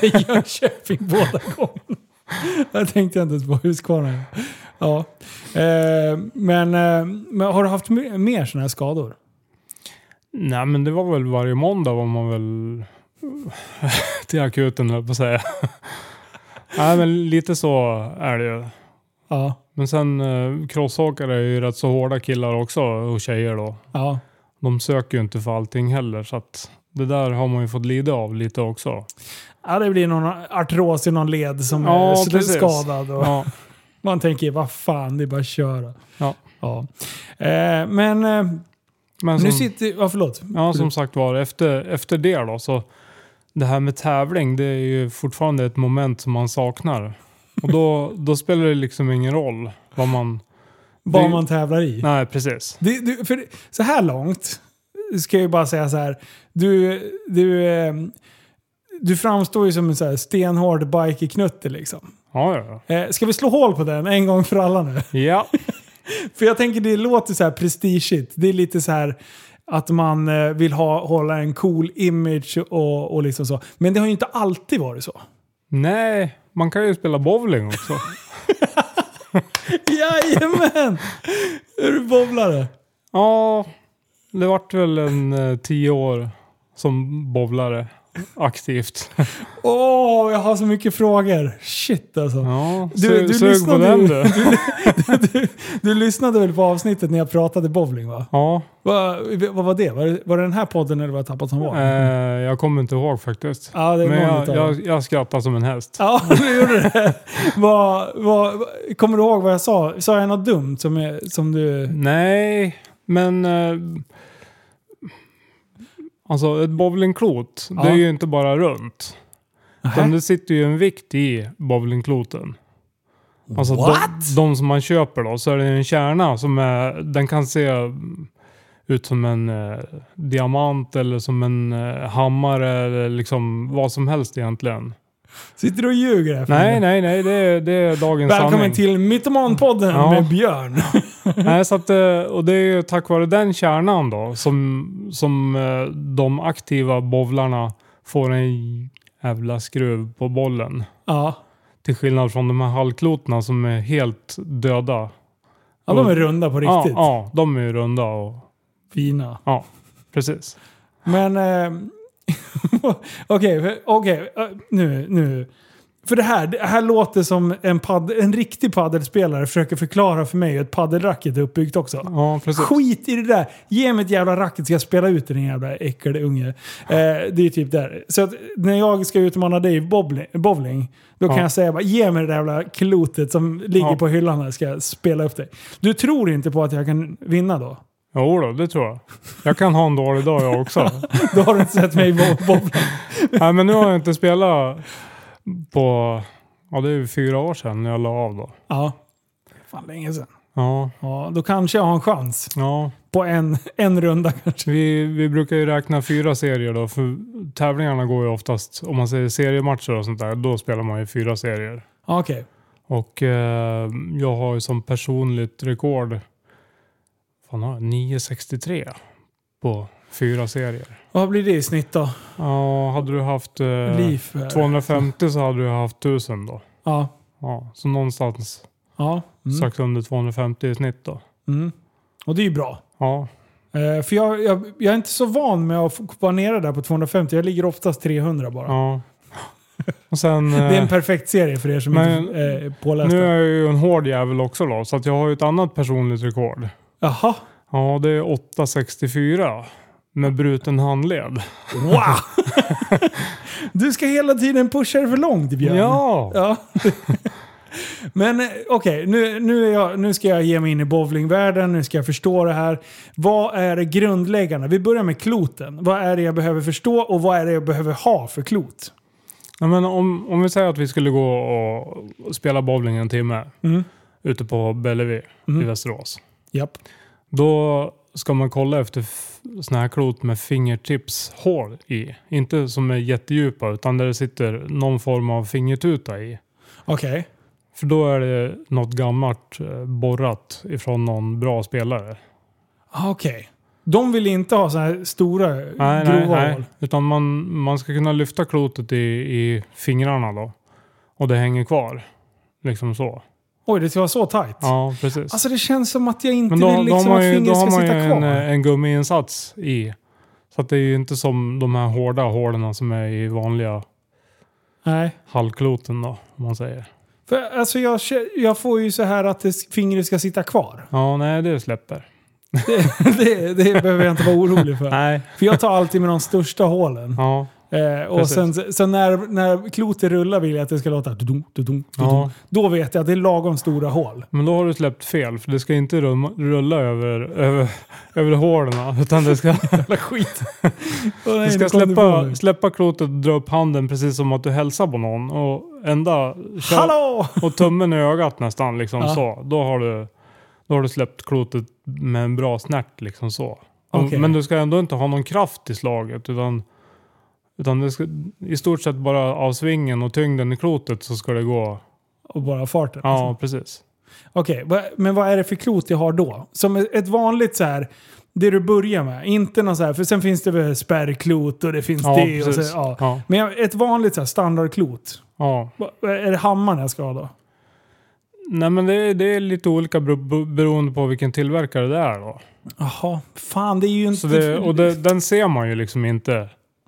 Det är Jönköping båda gångerna. Där tänkte jag inte ens på Huskvarna. Ja. Eh, men, eh, men har du haft me- mer sådana här skador? Nej, men det var väl varje måndag var man väl till akuten höll jag på att säga. Nej, men lite så är det ju. Ja. Men sen eh, crossåkare är ju rätt så hårda killar också och tjejer då. ja. De söker ju inte för allting heller så att det där har man ju fått lida av lite också. Ja, det blir någon artros i någon led som Ja, är sl- precis. skadad. Och Ja, Man tänker, vad fan, det är bara att köra. Ja. ja. Eh, men eh, men nu som, sitter... Ja, förlåt. ja, som sagt var, efter, efter det då så det här med tävling det är ju fortfarande ett moment som man saknar. Och då, då spelar det liksom ingen roll vad man... Vad det- man tävlar i. Nej, precis. Det, du, för så här långt ska jag ju bara säga så här. Du, du, eh, du framstår ju som en så här stenhård bikerknutte liksom. Ja, ja, Eh, Ska vi slå hål på den en gång för alla nu? ja. ja. För jag tänker det låter så här prestigeigt. Det är lite så här att man eh, vill ha, hålla en cool image och, och liksom så. Men det har ju inte alltid varit så. Nej, man kan ju spela bowling också. Jajamän! Är du bowlare? Ja, det vart väl en eh, tio år som bowlare aktivt. Åh, jag har så mycket frågor. Shit alltså. Ja, Du- sö- du sög på lyssnade den ju. du. Du, du lyssnade väl på avsnittet när jag pratade bowling va? Ja, Va- Vad var det? Var, det? var det den här podden eller var det Tappat som var? eh, jag kommer inte ihåg faktiskt. Ja, det är Men någon jag, utav jag, dem. jag skrattar som en häst. Ja, du gjorde det. Vad- vad- kommer du ihåg vad jag sa? Sa jag något dumt som, jag- som du... Nej, men... Eh, alltså ett bowlingklot, Ja. det är ju inte bara runt. Utan Nähä? det sitter ju en vikt i bowlingkloten. Alltså de, What? de som man köper då, så är det en kärna som är, den kan se ut som en eh, diamant eller som en eh, hammare eller liksom vad som helst egentligen. Sitter du och ljuger här för mig? Nej, nej, nej, det är, det är dagens Mm. Välkommen sanning. till Mytomanpodden Ja. med Björn. Nej, så att, eh, och det är ju tack vare den kärnan då som, som eh, de aktiva bowlarna får en jävla skruv på bollen. Ja. Till skillnad från de här halvklotarna som är helt döda. ja, de är runda på Ja, riktigt. ja, de är ju runda och Fina. precis. Men... Eh, Okej, för- okej. eh, nu, nu. För det här, det här låter som en, pad, en riktig paddelspelare försöker förklara för mig hur ett paddelracket är uppbyggt också. Ja, precis. Skit i det där! Ge mig ett jävla racket så jag spelar ut den jävla äckelunge. Eh, det är typ där. Så att när jag ska utmana dig i bowling, bowling då kan Ja. jag säga bara ge mig det där jävla klotet som ligger Ja. på hyllan här ska jag spela upp dig. Du tror inte på att jag kan vinna då? Jo då, det tror jag. Jag kan ha en dålig dag jag också. Då har du inte sett mig bo- bowla. Nej, men nu har jag inte spelat på, ja det är ju fyra år sedan jag la av då. Ja. Fan länge sedan. Ja, Ja, då kanske jag har en chans. ja. På en, en runda kanske. Vi, vi brukar ju räkna fyra serier då, för tävlingarna går ju oftast, om man säger seriematcher och sånt där, då spelar man ju fyra serier. Ja, Okej. Och eh, jag har ju som personligt rekord, fan har jag, 9,63 på fyra serier. Vad blir det i snitt då? Ja, hade du haft eh, Liv? eh, 250 så hade du haft 1000 då. Ja. Ja, så någonstans ja. Mm. strax under 250 i snitt då. Mm. Och det är ju bra. Ja, Eh, för jag, jag, jag är inte så van med att få vara nere där på 250. Jag ligger oftast 300 bara. ja. Och sen, Det är en eh, perfekt serie för er som Men- inte eh, är pålästa. nu är jag ju en hård jävel också då, så att jag har ju ett annat personligt rekord. Jaha. Ja, det är 864 med bruten handled. Wow! du ska hela tiden pusha dig för långt Björn. Ja! Ja. Men eh, okej, nu, nu, är jag- nu ska jag ge mig in i bowlingvärlden, nu ska jag förstå det här. Vad är det grundläggande? Vi börjar med kloten. Vad är det jag behöver förstå och vad är det jag behöver ha för klot? Nej, men om, om vi säger att vi skulle gå och spela bowling en timme Mm. ute på Bellevue i Mm. Västerås. Japp. Då ska man kolla efter f- såna här klot med fingertipshål i. Inte som är jättedjupa utan där det sitter någon form av fingertuta i. Okej. För då är det något gammalt eh, borrat ifrån någon bra spelare. Ah, Okej. De vill inte ha så här stora, Nej, nej, grova nej. hål. Utan man, man ska kunna lyfta klotet i, i fingrarna då. Och det hänger kvar. Liksom så. Oj, det ska vara så tajt. Ja, precis. Alltså det känns som att jag inte Men då, vill då har liksom man att ju, då fingret har ska man ju sitta en, kvar. eh, en gummiinsats i. Så att det är ju inte som de här hårda hålen som är i vanliga Nej. hallkloten då, om man säger. För alltså jag, kä- jag får ju så här att det, fingret ska sitta kvar. Ja, nej det släpper. Det, det, det behöver jag inte vara orolig för. Nej. För jag tar alltid med de största hålen. Ja, Eh, och Precis. sen, sen när, när klotet rullar vill jag att det ska låta... Dudum, dudum, dudum. ja, Då vet jag att det är lagom stora hål. men då har du släppt fel för det ska inte rum- rulla över, över, över hålen utan det ska, Jävla skit. Åh, nej, det nu ska kom du på släppa, mig. släppa klotet och dra upp handen precis som att du hälsar på någon och ända kör- Hallå! och tummen i ögat nästan liksom Ja. så. Då har, du, då har du släppt klotet med en bra snärt liksom så. Okej. Men du ska ändå inte ha någon kraft i slaget utan, utan det ska, i stort sett bara av svingen och tyngden i klotet så ska det gå. Och bara farten. liksom. Ja, precis. Okej, va- men vad är det för klot jag har då? Som ett vanligt så här, det du börjar med. Inte någon så här, för sen finns det väl spärrklot och det finns Ja, det. Och precis. så, ja. Ja, Men jag- ett vanligt så här standardklot. ja. Va- Är det hammaren jag ska ha då? Nej men det, är- det är lite olika bero- beroende på vilken tillverkare det är då. Jaha, fan det är ju inte... Så det, och det, den ser man ju liksom inte.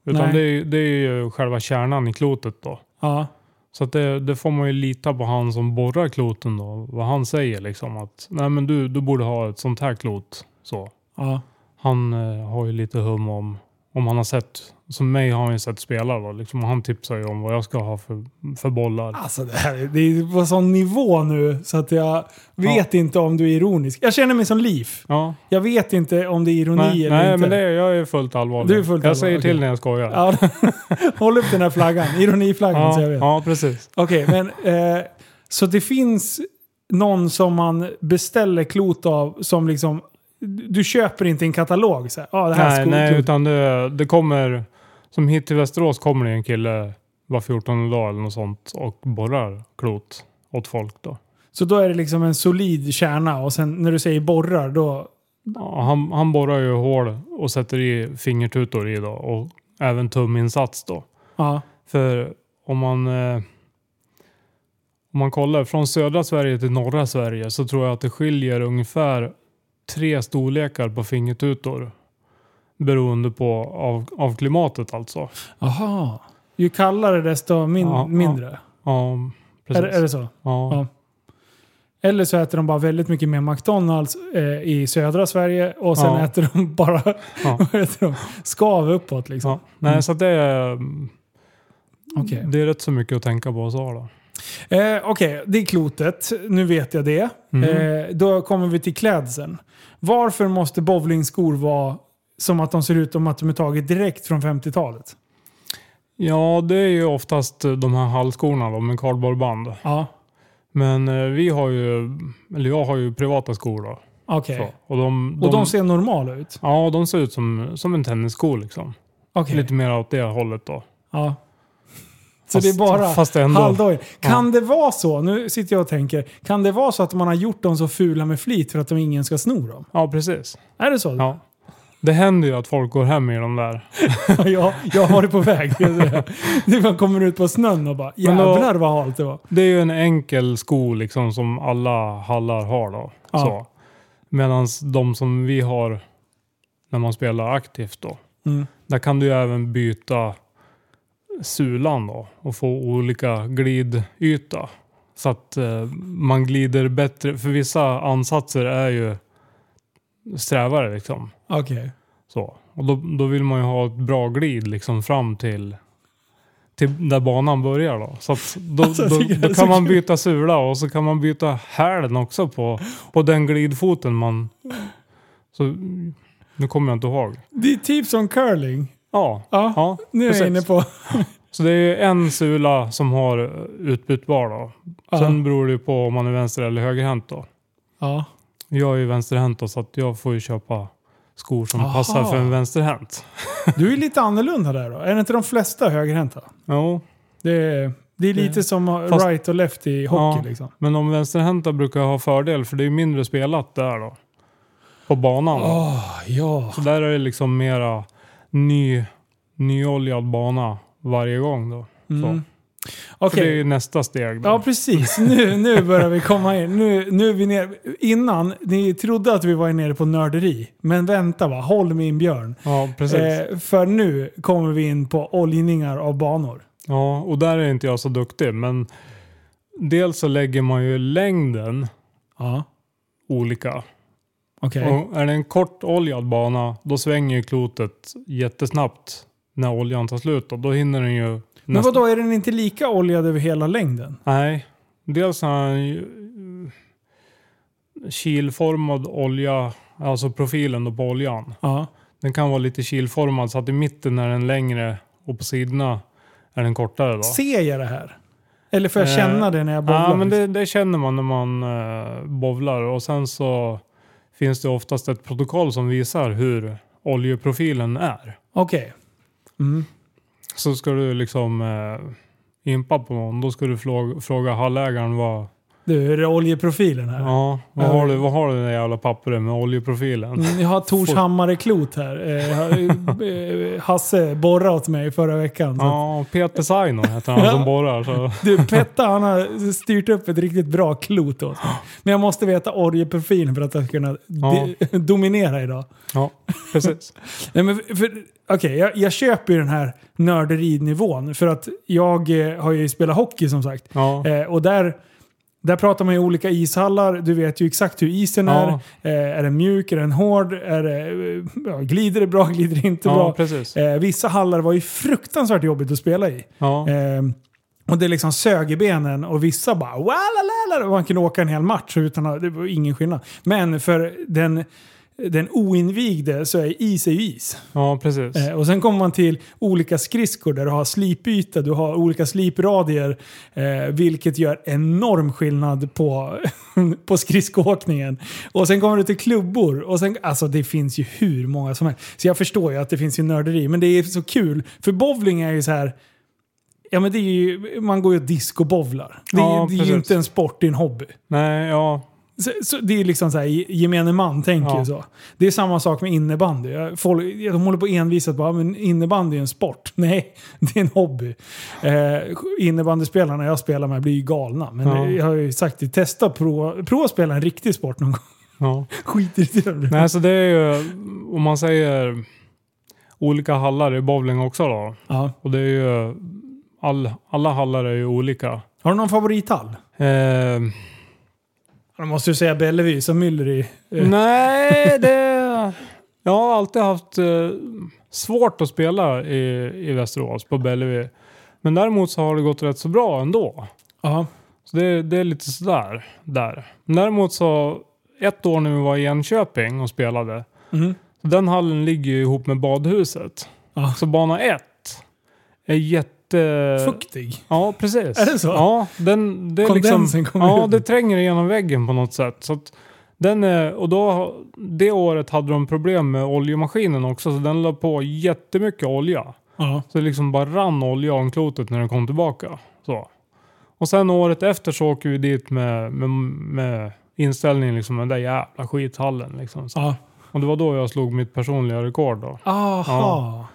Nej. Utan det, är- det är ju själva kärnan i klotet då. Ja, Så att det, det får man ju lita på han som borrar kloten då. Vad han säger liksom att nej men du, du borde ha ett sånt här klot. Så. ja. Han eh, har ju lite hum om, om han har sett, som mig har han ju sett spela då. Liksom, och han tipsar ju om vad jag ska ha för, för bollar. Alltså det här är- det är på sån nivå nu så att jag vet inte om du är ironisk. Jag känner mig som Liv. Ja, Jag vet inte om det är ironi nej, eller nej inte. men det, jag är fullt allvarlig. Du är fullt jag allvarlig, säger till okej. när jag skojar. Ja, håll upp den här flaggan, ironiflaggan så jag ja, vet. ja precis. Okej, men eh, så det finns någon som man beställer klot av som liksom... Du köper inte en katalog så här. Ja, det här Nej, sko- nej klot- utan det, det kommer, som hit till Västerås kommer det en kille var 14 dag eller något sånt och borrar klot åt folk då. Så då är det liksom en solid kärna och sen när du säger borrar då... Ja, han, han borrar ju hål och sätter i fingertutor i då och även tuminsats då. Ja, För om man, eh, om man kollar från södra Sverige till norra Sverige så tror jag att det skiljer ungefär tre storlekar på fingertutor. Beroende på av, av klimatet alltså. aha. Ju kallare desto min- Ja, ja. mindre. Ja, Är, precis. det- är det så? ja. ja. Eller så äter de bara väldigt mycket mer McDonalds eh, i södra Sverige och sen Ja. äter de bara Ja. vad heter de? skav uppåt liksom. Ja. Nej, så att det är, Okej. det är rätt så mycket att tänka på så då. Eh, Okej, det är klotet. Nu vet jag det. Mm. Eh, då kommer vi till klädseln. Varför måste bowlingskor vara som att de ser ut som att de är taget direkt från 50-talet? Ja, det är ju oftast de här halsskorna då med kardborreband. Ja, Men eh, vi har ju, eller jag har ju privata skor då. okej. Så. Och, de, Och de ser normala ut? Ja, de ser ut som, som en tennissko liksom. Okej. Lite mer åt det hållet då. Ja. Så det är bara Fast ändå. halvdagen. Kan Ja. det vara så, nu sitter jag och tänker, kan det vara så att man har gjort dem så fula med flit för att de ingen ska sno dem? Ja, precis. Är det så? Ja. Det händer ju att folk går hem i de där. jag, jag var det på väg. Det man kommer ut på snön och bara Men då- jävlar vad halt det var. Det är ju en enkel sko liksom som alla hallar har då. Ja. Så. Medan de som vi har när man spelar aktivt då. Mm. Där kan du ju även byta sulan då och få olika glidyta. Så att eh, man glider bättre. För vissa ansatser är ju strävare liksom. Okej. Så. Och då, då vill man ju ha ett bra glid liksom fram till, till där banan börjar då. Så att då, Alltså, jag då, tycker det är då så kan man kul. byta sula och så kan man byta hälen också på, på den glidfoten man... Så, nu kommer jag inte ihåg. Det är typ som curling. Ja. Ja, ja nu är precis. jag inne på. Så det är ju en sula som har utbytbar då. Ja. Sen beror det ju på om man är vänster eller högerhänt då. Ja. Jag är ju vänsterhänt då, så att jag får ju köpa skor som Aha. passar för en vänsterhänt. Du är lite annorlunda där då. Är det inte de flesta högerhänta? Jo, Det är, det är lite som Fast- right och left i hockey Ja. liksom. men de vänsterhänta brukar ha fördel för det är ju mindre spelat där då. På banan. då. Åh, Ah, ja. Så där är det liksom mera ny, nyoljad bana varje gång då. Mm. För det är Okej. ju nästa steg då. Ja, precis. Nu, nu börjar vi komma in. Nu, nu är vi ner. Innan, ni trodde att vi var nere på nörderi. Men vänta va, håll min björn. Ja, precis. Eh, för nu kommer vi in på oljningar av banor. Ja, och där är inte jag så duktig. Men dels så lägger man ju längden Ja, olika. okej. Och är det en kortoljad bana, då svänger ju klotet jättesnabbt när oljan tar slut. Och då hinner den ju... Men vadå, är den inte lika oljad över hela längden? Nej. Dels har han ju eh, kilformad olja, alltså profilen då på oljan. Ja. Den kan vara lite kilformad så att i mitten är den längre och på sidorna är den kortare. Då. Ser jag det här? Eller får jag Eh, känna det när jag bowlar? Ja, men det, det känner man när man eh, bovlar och sen så finns det oftast ett protokoll som visar hur oljeprofilen är. Okej. Mm. Så ska du liksom eh, impa på någon, då ska du fråga, fråga hallägaren vad, Du, är det oljeprofilen här? ja, vad, har du, vad har du i det jävla pappret med oljeprofilen? Mm, Jag har Tors Får- hammareklot här. Eh, jag har- eh, Hasse borrade åt mig förra veckan. Så att- Ja, Peter Saino heter han Ja. som borrar. Så. Du, Petta han har styrt upp ett riktigt bra klot åt mig. Men jag måste veta oljeprofilen för att jag ska kunna di- dominera idag. Ja, precis. Nej, men för, för, okej, jag, jag köper ju den här nörderidnivån för att jag eh, har ju spelat hockey som sagt. Ja. Eh, och där, där pratar man ju olika ishallar. Du vet ju exakt hur isen är. Ja. Eh, är den mjuk? Är den hård? Är det, eh, ja, glider det bra? Glider det inte Ja, bra? precis. Eh, vissa hallar var ju fruktansvärt jobbigt att spela i. Ja. Eh, och det liksom sög i benen och vissa bara "Walalala", och man kunde åka en hel match utan att, det var ingen skillnad. Men för den, den oinvigde så är is är ju is. ja, precis. Eh, och sen kommer man till olika skridskor där du har slipyta, du har olika slipradier. Eh, vilket gör enorm skillnad på, på skridskoåkningen. Och sen kommer du till klubbor. Och sen, alltså det finns ju hur många som helst. Så jag förstår ju att det finns ju nörderi. Men det är så kul. För bowling är ju så här... Ja men det är ju, man går ju och discobowlar. Det, är- Ja, det är ju precis. inte en sport, det är en hobby. Nej, ja, Så, så det är liksom så här, gemene man tänker Ja. ju så. Det är samma sak med innebandy. Jag- Folk, de håller på envisat bara, men innebandy är en sport. Nej, det är en hobby. Eh, innebandyspelarna jag spelar med blir ju galna. Men Ja. jag har ju sagt det, testa att prova, prova att spela en riktig sport någon gång. ja. Skit i det. Nej, alltså det är ju, om man säger olika hallar i bowling också då. Ja. Och det är ju, all, alla hallar är ju olika. Har du någon favorithall? Eh, Då måste du säga Bellevue som myller i. Eh, nej, det... Jag har alltid haft eh, svårt att spela i, i Västerås på Bellevue. Men däremot så har det gått rätt så bra ändå. ja. Så det, det är lite sådär där. Men däremot så, ett år när vi var i Enköping och spelade. Mm. Så Den hallen ligger ju ihop med badhuset. Ja. Så bana ett är jätte... Fuktig. Ja, precis. Är det så? Ja, den, det är Kondensen liksom, kommer Ja, ut. det tränger igenom väggen på något sätt. Så att den är, och då, det året hade de problem med oljemaskinen också, så den la på jättemycket olja. Ja. Så det liksom bara rann olja om klotet när den kom tillbaka. Så. Och sen året efter så åker vi dit med, med, med inställningen liksom, den där jävla skithallen liksom. Så. Ja. Och det var då jag slog mitt personliga rekord då. Aha.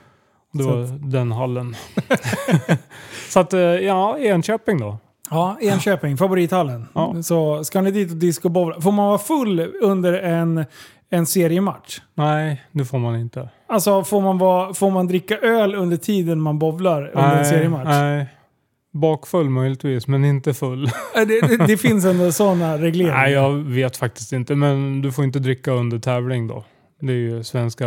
Det Så var den hallen. så att, eh, ja, Enköping då. Ja, Enköping, favorithallen. Ja. Så ska ni dit och discobowla. Får man vara full under en, en seriematch? Nej, det får man inte. Alltså får man, vara, får man dricka öl under tiden man bowlar under en seriematch? nej. Bakfull möjligtvis, men inte full. Äh, Det, det, det finns ändå sådana regleringar. nej, jag vet faktiskt inte. Men du får inte dricka under tävling då. Det är ju Svenska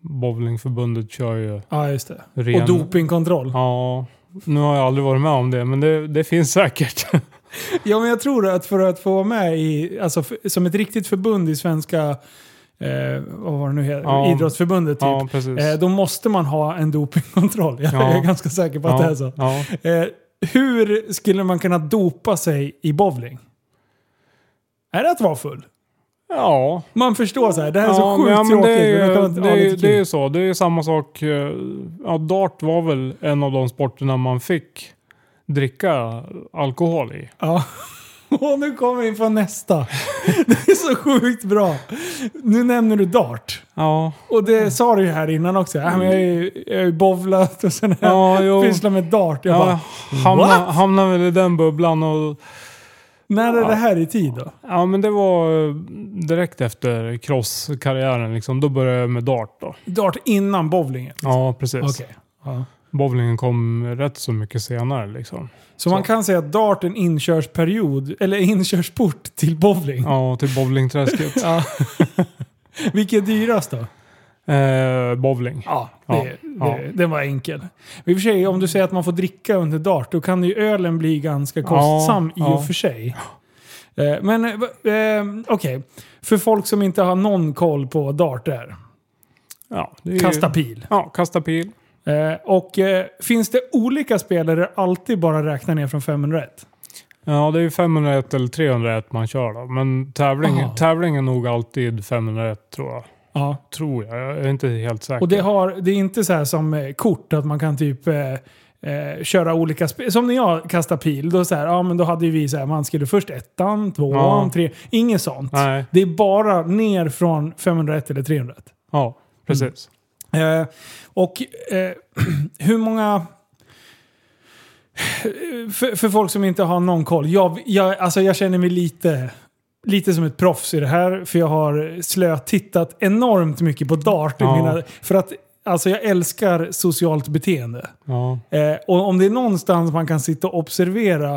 Bowlingförbundet kör ju Ja, just det. ren... Och dopingkontroll. Ja. Ja, nu har jag aldrig varit med om det, men det, det finns säkert. men jag tror att för att få vara med i, alltså för, som ett riktigt förbund i svenska eh, vad var det nu heter? Ja. Idrottsförbundet typ. Ja, precis. Eh, då måste man ha en dopingkontroll. Jag Ja. är ganska säker på att ja, det är så. Ja. Eh, hur skulle man kunna dopa sig i bowling? Är det att vara full? ja. Man förstår så här, det här är Ja, så sjukt men- ja, men tråkigt. men Det är, det ju, kan det, vara är, ju- lite kul. det är ju så. Det är ju samma sak. eh, Ja, dart var väl en av de sporterna man fick dricka alkohol i. Ja. Och nu kommer vi in på nästa. Det är så sjukt bra. Nu nämner du dart. Ja, Och det sa du ju här innan också. Ja, men jag har ju- jag har ju bowlat och sen har jag ja jo. pysslat med dart. Jag Ja, bara, hamna, What? hamna väl i den bubblan och... när är det här i tid då? Ja, men det var eh, direkt efter crosskarriären liksom. Då började jag med dart då. Dart innan bowlingen? Ja, precis. Okej. Ja. Bowlingen kom rätt så mycket senare liksom. Så, man kan säga att dart är en inkörsperiod, eller inkörsport till bowling. Ja, till bowlingträsket. Ja. Vilket är dyrast då? eh, bowling. Ja, det, Ja, Det, den var enkel. Men i och för sig, om du säger att man får dricka under dart, då kan ju ölen bli ganska kostsam Ja, i ja. och för sig. Eh, Men eh, va- eh, okej, för folk som inte har någon koll på dart där. Ja, det är ju- Kasta pil. Ja, kasta pil. Eh, Och eh, finns det olika spel där det alltid bara räknar ner från 501? Ja, det är ju 501 eller 301 man kör då. Men tävling, Aha. tävling är nog alltid 501 tror jag. Ja. Tror jag, jag är inte helt säker. Och det, har, det är inte så här som eh, kort, att man kan typ eh, eh, köra olika spel. Som när jag kastade pil, då, så här, ja, men då hade ju vi så här, man skulle först ettan, tvåan, Ja. tre. Inget sånt. Nej, Det är bara ner från 501 eller 301. ja, precis. Eh, och eh, hur många... För, för folk som inte har någon koll. Jag, jag, alltså jag känner mig lite, lite som ett proffs i det här. För jag har slötittat enormt mycket på dart. i Ja. Mina, för att alltså jag älskar socialt beteende. Ja, Eh, och om det är någonstans man kan sitta och observera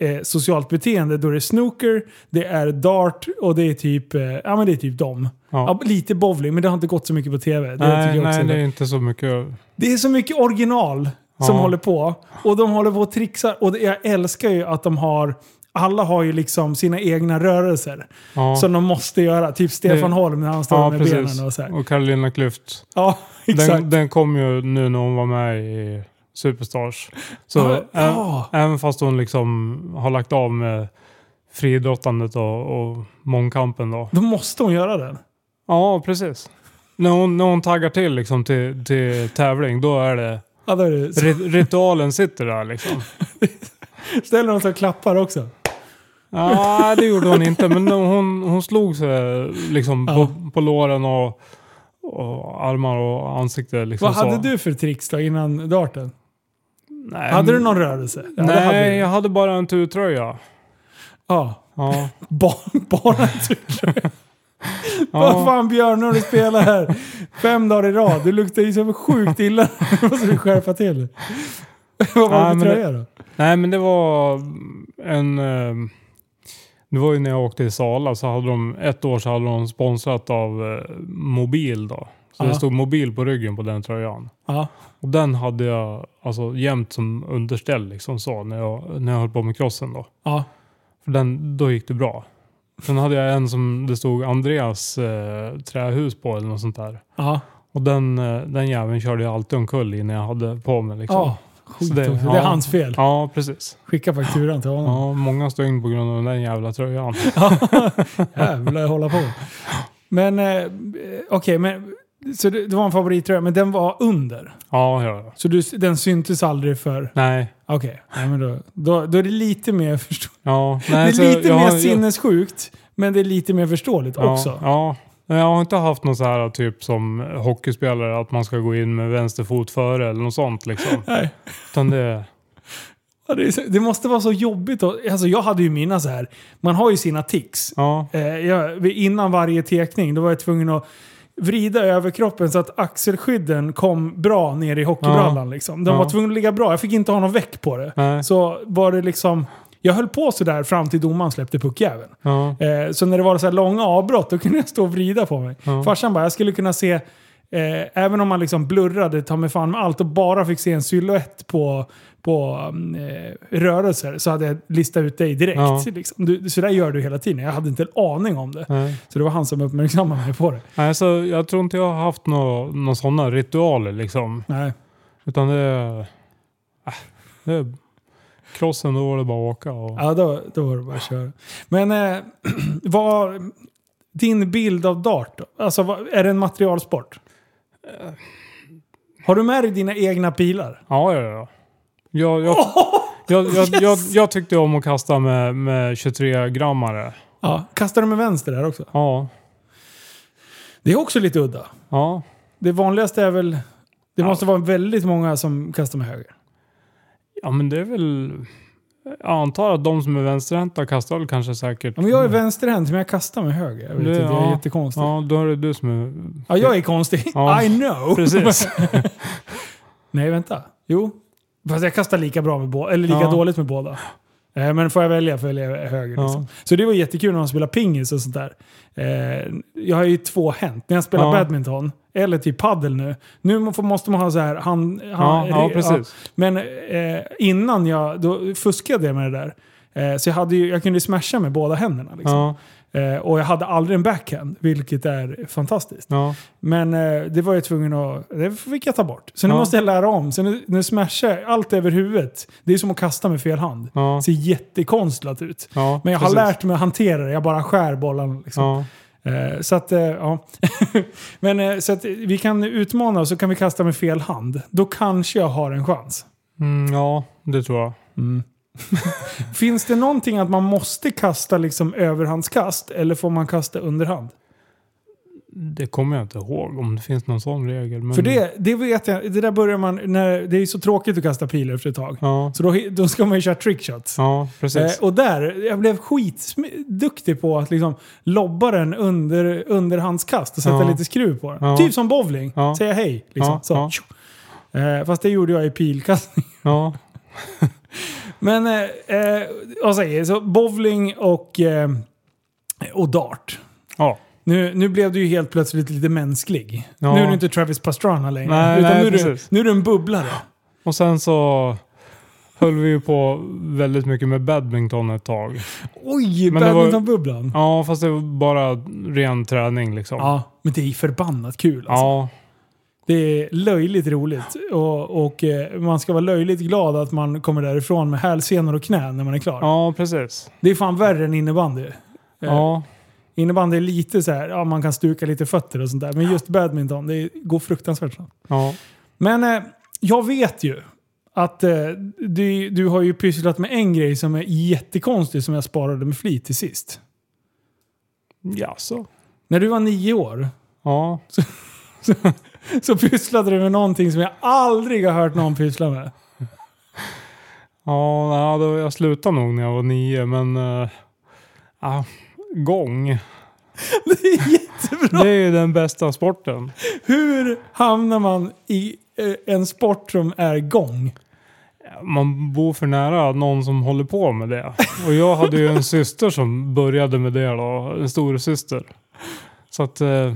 eh, socialt beteende, då är det snooker, det är dart och det är typ, eh, ja men det är typ dem. ja. Ja, lite bowling, men det har inte gått så mycket på tv. Det, tycker nej, jag också nej, är det bra. är inte så mycket. det är så mycket original som Ja. håller på. Och de håller på och trixar. Och det, jag älskar ju att de har, alla har ju liksom sina egna rörelser Ja, som de måste göra. Typ Stefan Det- Holm när han står ja med precis. benen och så här. Och Carolina Klüft. Ja, exakt. Den, den kom ju nu när hon var med i Superstars. Så Ja, ä- ja. även fast hon liksom har lagt av med friidrottandet och, och mångkampen då. Då måste hon göra den. Ja, precis. När hon, när hon taggar till, liksom, till till tävling, då är det... Ja, då är det. Så Ri, ritualen sitter där liksom. ställer hon sig och klappar också. Nej, det gjorde hon inte. Men hon, hon slog sig liksom på, på låren och, och armar och ansikte. Liksom, Vad så. hade du för tricks då innan darten? Nej, Hade du men- någon rörelse? Ja, det Mm. Nej, hade du. jag hade bara en turtröja. Ja. Ja. Barn, barn Vad ja. fan Björn, nu har du spelat här fem dagar i rad. Du luktar ju så sjukt illa. Nu måste du skärpa till Vad var Nej, det för men det- tröja då? Nej, men det var en... eh, Det var ju när jag åkte i Sala så hade de, ett år så hade de sponsrat av eh, Mobil då. Så Ja. det stod Mobil på ryggen på den tröjan. Ja. Och den hade jag alltså, jämt som underställ liksom så när jag, när jag höll på med crossen då. Ja. För den, då gick det bra. Sen hade jag en som det stod Andreas eh, trähus på eller något sånt där. Ja. Och den, eh, den jäveln körde jag alltid omkull i när jag hade på mig liksom. ja. Skit Så det- också. Det är ja. hans fel. Ja, precis. Skicka fakturan till honom. Ja, många stygn på grund av den jävla tröjan. Jävlar hålla på. Men eh, okej, men så det, det var en favorittröja, men den var under. Ja, ja, ja. Så du, den syntes aldrig för... Nej. Okej, nej, men då, då, då är det lite mer förstå- Ja, nej, Det så är lite jag mer har- sinnessjukt, men det är lite mer förståeligt ja, också. Ja. Men Jag har inte haft någon så här typ som hockeyspelare att man ska gå in med vänster fot före eller något sånt liksom. Nej. Utan det... Ja, det, är så, det måste vara så jobbigt. Och, alltså jag hade ju mina så här. Man har ju sina tics. Ja, Eh, jag, vid- innan varje tekning då var jag tvungen att vrida över kroppen så att axelskydden kom bra ner i hockeybrallan. Liksom. De Ja. var tvungna att ligga bra. Jag fick inte ha någon väck på det. nej. Så var det liksom... Jag höll på sådär fram till domaren släppte puckjäveln. Ja, Eh, så när det var så här långa avbrott då kunde jag stå och vrida på mig. ja. Farsan bara, jag skulle kunna se Eh, även om man liksom blurrade ta mig fan med allt och bara fick se en silhuett på, på mm, eh, rörelser så hade jag listat ut dig direkt. Ja. Liksom. Du, så där gör du hela tiden. Jag hade inte en aning om det. Nej. Så det var han som uppmärksammade mig på det. Nej, så jag tror inte jag har haft några nå sådana ritualer liksom. Nej. Utan det är... Äh, det är crossen, då var det bara att åka. Och, Ja, då, då var det bara att köra. Men eh, vad... Din bild av dart då? Alltså, vad, är det en materialsport? Eh. Har du med dig dina egna pilar? Ja, ja, ja. Jag, jag, jag, jag, jag, jag tyckte om att kasta med, med 23-grammare. Ja. Kastar du med vänster där också? Ja, Det är också lite udda. ja. Det vanligaste är väl... Det Ja. måste vara väldigt många som kastar med höger. Ja, men det är väl... Jag antar att de som är vänsterhänta kastar väl kanske säkert... Ja, men jag är vänsterhänt, men jag kastar med höger. Jag vet Det- inte, det är Mm. ja. jättekonstigt. Ja. Ja, då är det du som är... jag är konstig. Ja. I know! Precis. Nej, vänta. Jo. Fast jag kastar lika bra med båda, eller lika Ja. dåligt med båda. Eh, Men får jag välja får jag välja höger. Ja. Liksom. Så det var jättekul när man spelar pingis och sånt där. Eh, Jag har ju två hänt. När jag spelar Ja. badminton, eller typ paddel nu. Nu må- får- måste man ha så här hand... Ja, hand ja, re- precis. Men eh, innan jag, då fuskade jag med det där. Eh, så jag, hade ju, jag kunde ju smasha med båda händerna. Liksom. Ja, Eh, och jag hade aldrig en backhand, vilket är fantastiskt. ja. Men eh, det var jag tvungen att... Det fick jag ta bort. Så nu Ja. måste jag lära om. Så nu, nu smashar jag allt över huvudet. Det är som att kasta med fel hand. ja, Det ser jättekonstlat ut. ja Men jag precis. har lärt mig att hantera det. Jag bara skär bollen. Liksom. Ja, Eh, Så att, eh, ja. Men eh, så att vi kan utmana och så kan vi kasta med fel hand. Då kanske jag har en chans. mm, ja, det tror jag. Mm. Finns det någonting att man måste kasta liksom överhandskast eller får man kasta underhand? Det kommer jag inte ihåg om det finns någon sån regel. Men, För det, det vet jag, det där börjar man, när, det är ju så tråkigt att kasta pilar efter ett tag. Ja, Så då, då ska man ju köra trickshots. ja precis. Eh, och där, jag blev skitduktig på att liksom lobba den under, underhandskast och sätta Ja. lite skruv på den. Ja. Typ som bowling, Ja. säga hej. Liksom. Ja, Så. ja. tjo. Eh, fast det gjorde jag i pilkastning. Ja, Men eh, eh, vad säger jag? så bowling och, eh, och dart. ja. Nu, nu blev du ju helt plötsligt lite mänsklig. Ja. Nu är du inte Travis Pastrana längre. Nej, utan nej, nu, är du, precis. nu är du en bubblare. Och sen så höll vi ju på väldigt mycket med badminton ett tag. Oj, Men det var- badmintonbubblan. Ja, fast det var bara ren träning liksom. Ja, men det är ju förbannat kul. Alltså. Ja, Det är löjligt roligt och, och eh, man ska vara löjligt glad att man kommer därifrån med hälsenor och knän när man är klar. ja, precis. Det är fan värre än innebandy. Eh, Ja, Innebandy är lite så här, ja man kan stuka lite fötter och sånt där. Men just badminton, det går fruktansvärt snabbt. ja, Men eh, jag vet ju att eh, du, du har ju pysslat med en grej som är jättekonstig som jag sparade med flit till sist. ja så. När du var nio år Ja, så pysslade du med någonting som jag aldrig har hört någon pyssla med. ja, ja då, jag slutade nog när jag var nio, men... eh, ja, gång. Det är jättebra! Det är ju den bästa sporten. Hur hamnar man i eh, en sport som är gång? Man bor för nära någon som håller på med det. Och jag hade ju en syster som började med det då, en storasyster. Så att eh,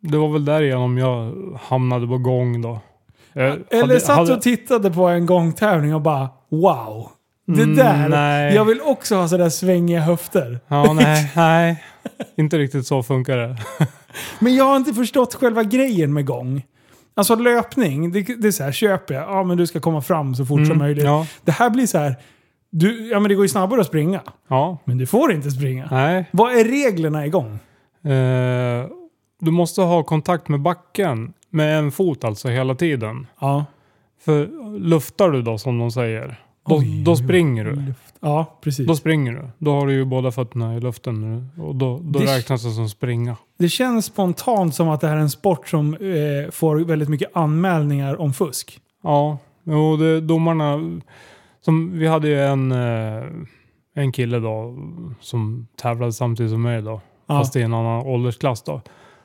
det var väl därigenom jag hamnade på gång då. Jag Eller hade- satt hade- och tittade på en gångtävling och bara wow. Det Mm, där. nej. Jag vill också ha sådär svängiga höfter. Ja, nej, nej. Inte riktigt så funkar det. Men jag har inte förstått själva grejen med gång. Alltså löpning, det, det är så här, köper jag. Ja men du ska komma fram så fort som möjligt. Mm, Ja, Det här blir så här. Du, ja men det går ju snabbare att springa. ja Men du får inte springa. nej. Vad är reglerna i gång? Eh, du måste ha kontakt med backen med en fot alltså hela tiden. Ja. För luftar du då som de säger, då, Oj, då springer du. Ja, precis. Då springer du. Då har du ju båda fötterna i luften nu. Och då, då Det- räknas det som springa. Det känns spontant som att det här är en sport som eh, får väldigt mycket anmälningar om fusk. Ja, och det, domarna... Som, vi hade ju en, eh, en kille då som tävlade samtidigt som mig då. Ja. Fast i en annan åldersklass då.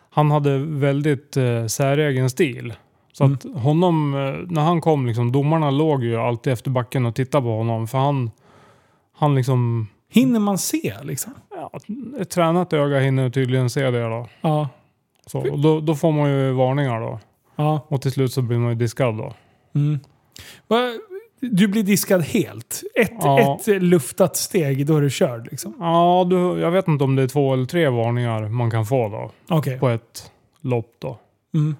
Han hade väldigt eh, säregen stil. Så att honom, eh, när han kom liksom, domarna låg ju alltid efter backen och tittade på honom. För han, han liksom, Hinner man se liksom? ja, ett tränat öga hinner tydligen se det då. Ja. Så, och då, då får man ju varningar då. Ja. Och till slut så blir man ju diskad då. Mm. Va- Du blir diskad helt. Ett, Ja. ett luftat steg, då är du körd. Liksom. Ja, du, jag vet inte om det är två eller tre varningar man kan få då. Okej. På ett lopp då. Mm.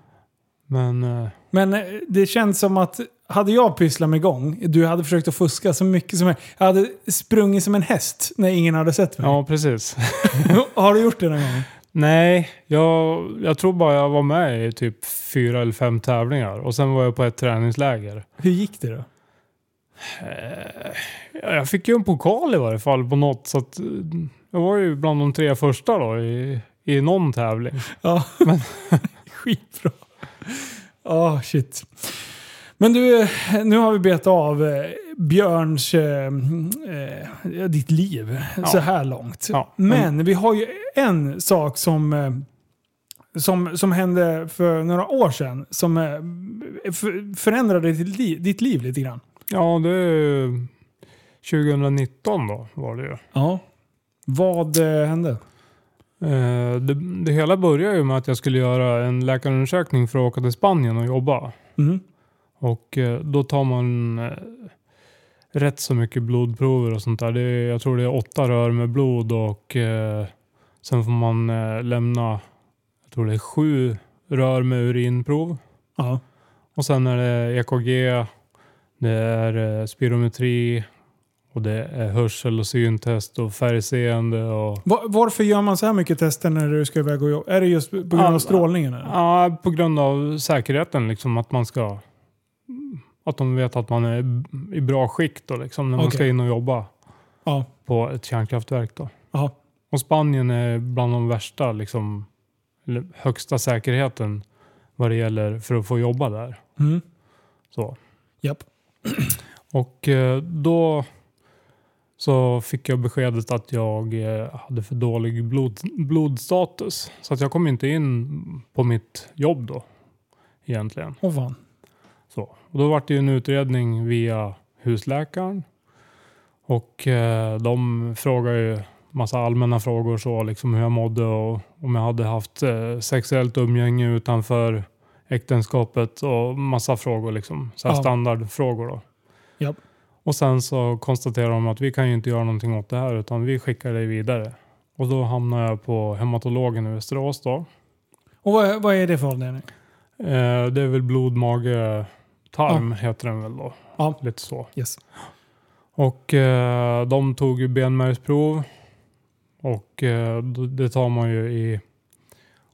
Men eh, Men eh, det känns som att hade jag pysslat med gång, du hade försökt att fuska så mycket som möjligt. Jag hade sprungit som en häst när ingen hade sett mig. ja, precis. Har du gjort det någon gång? Nej, jag, jag tror bara jag var med i typ fyra eller fem tävlingar. Och sen var jag på ett träningsläger. Hur gick det då? Eh, jag fick ju en pokal i varje fall på något. Så att, eh, jag var ju bland de tre första då i, i någon tävling. Ja, skitbra. Ja, shit. Men du, eh, nu har vi betat av eh, Björns, eh, eh, ditt liv Ja. så här långt. Ja, Men vi har ju en sak som, eh, som, som hände för några år sedan som eh, för- förändrade ditt liv, ditt liv lite grann. Ja, det är ju 2019 då var det ju. Ja. Vad eh, hände? Eh, Det, det hela började ju med att jag skulle göra en läkarundersökning för att åka till Spanien och jobba. Mm. Och eh, då tar man eh, rätt så mycket blodprover och sånt där. Det är, jag tror det är åtta rör med blod och eh, sen får man eh, lämna, jag tror det är sju rör med urinprov. Ja. Och sen är det EKG, det är eh, spirometri och det är hörsel och syntest och färgseende och Va- Varför gör man så här mycket tester när du ska iväg och jobba? Är det just på grund av Ja, strålningen? Eller? Ja, på grund av säkerheten liksom att man ska att de vet att man är i bra skick då liksom när man Okej. ska in och jobba Ja. på ett kärnkraftverk då. Jaha. Och Spanien är bland de värsta liksom eller högsta säkerheten vad det gäller för att få jobba där. Mm. Så. Japp. Och eh, då så fick jag beskedet att jag eh, hade för dålig blod, blodstatus. Så att jag kom inte in på mitt jobb då egentligen. Åh fan. Så. Och då var det ju en utredning via husläkaren. Och eh, de frågade ju massa allmänna frågor så, liksom hur jag mådde och om jag hade haft eh, sexuellt umgänge utanför äktenskapet och massa frågor liksom. Så här Ja. standardfrågor då. Japp. Och sen så konstaterade de att vi kan ju inte göra någonting åt det här utan vi skickar dig vidare. Och då hamnade jag på hematologen i Västerås då. Och vad, vad är det för avdelning? Eh, det är väl blod, mage, tarm heter den väl då. Ja. Lite så. Yes. Och eh, de tog ju benmärgsprov. Och eh, d- det tar man ju i,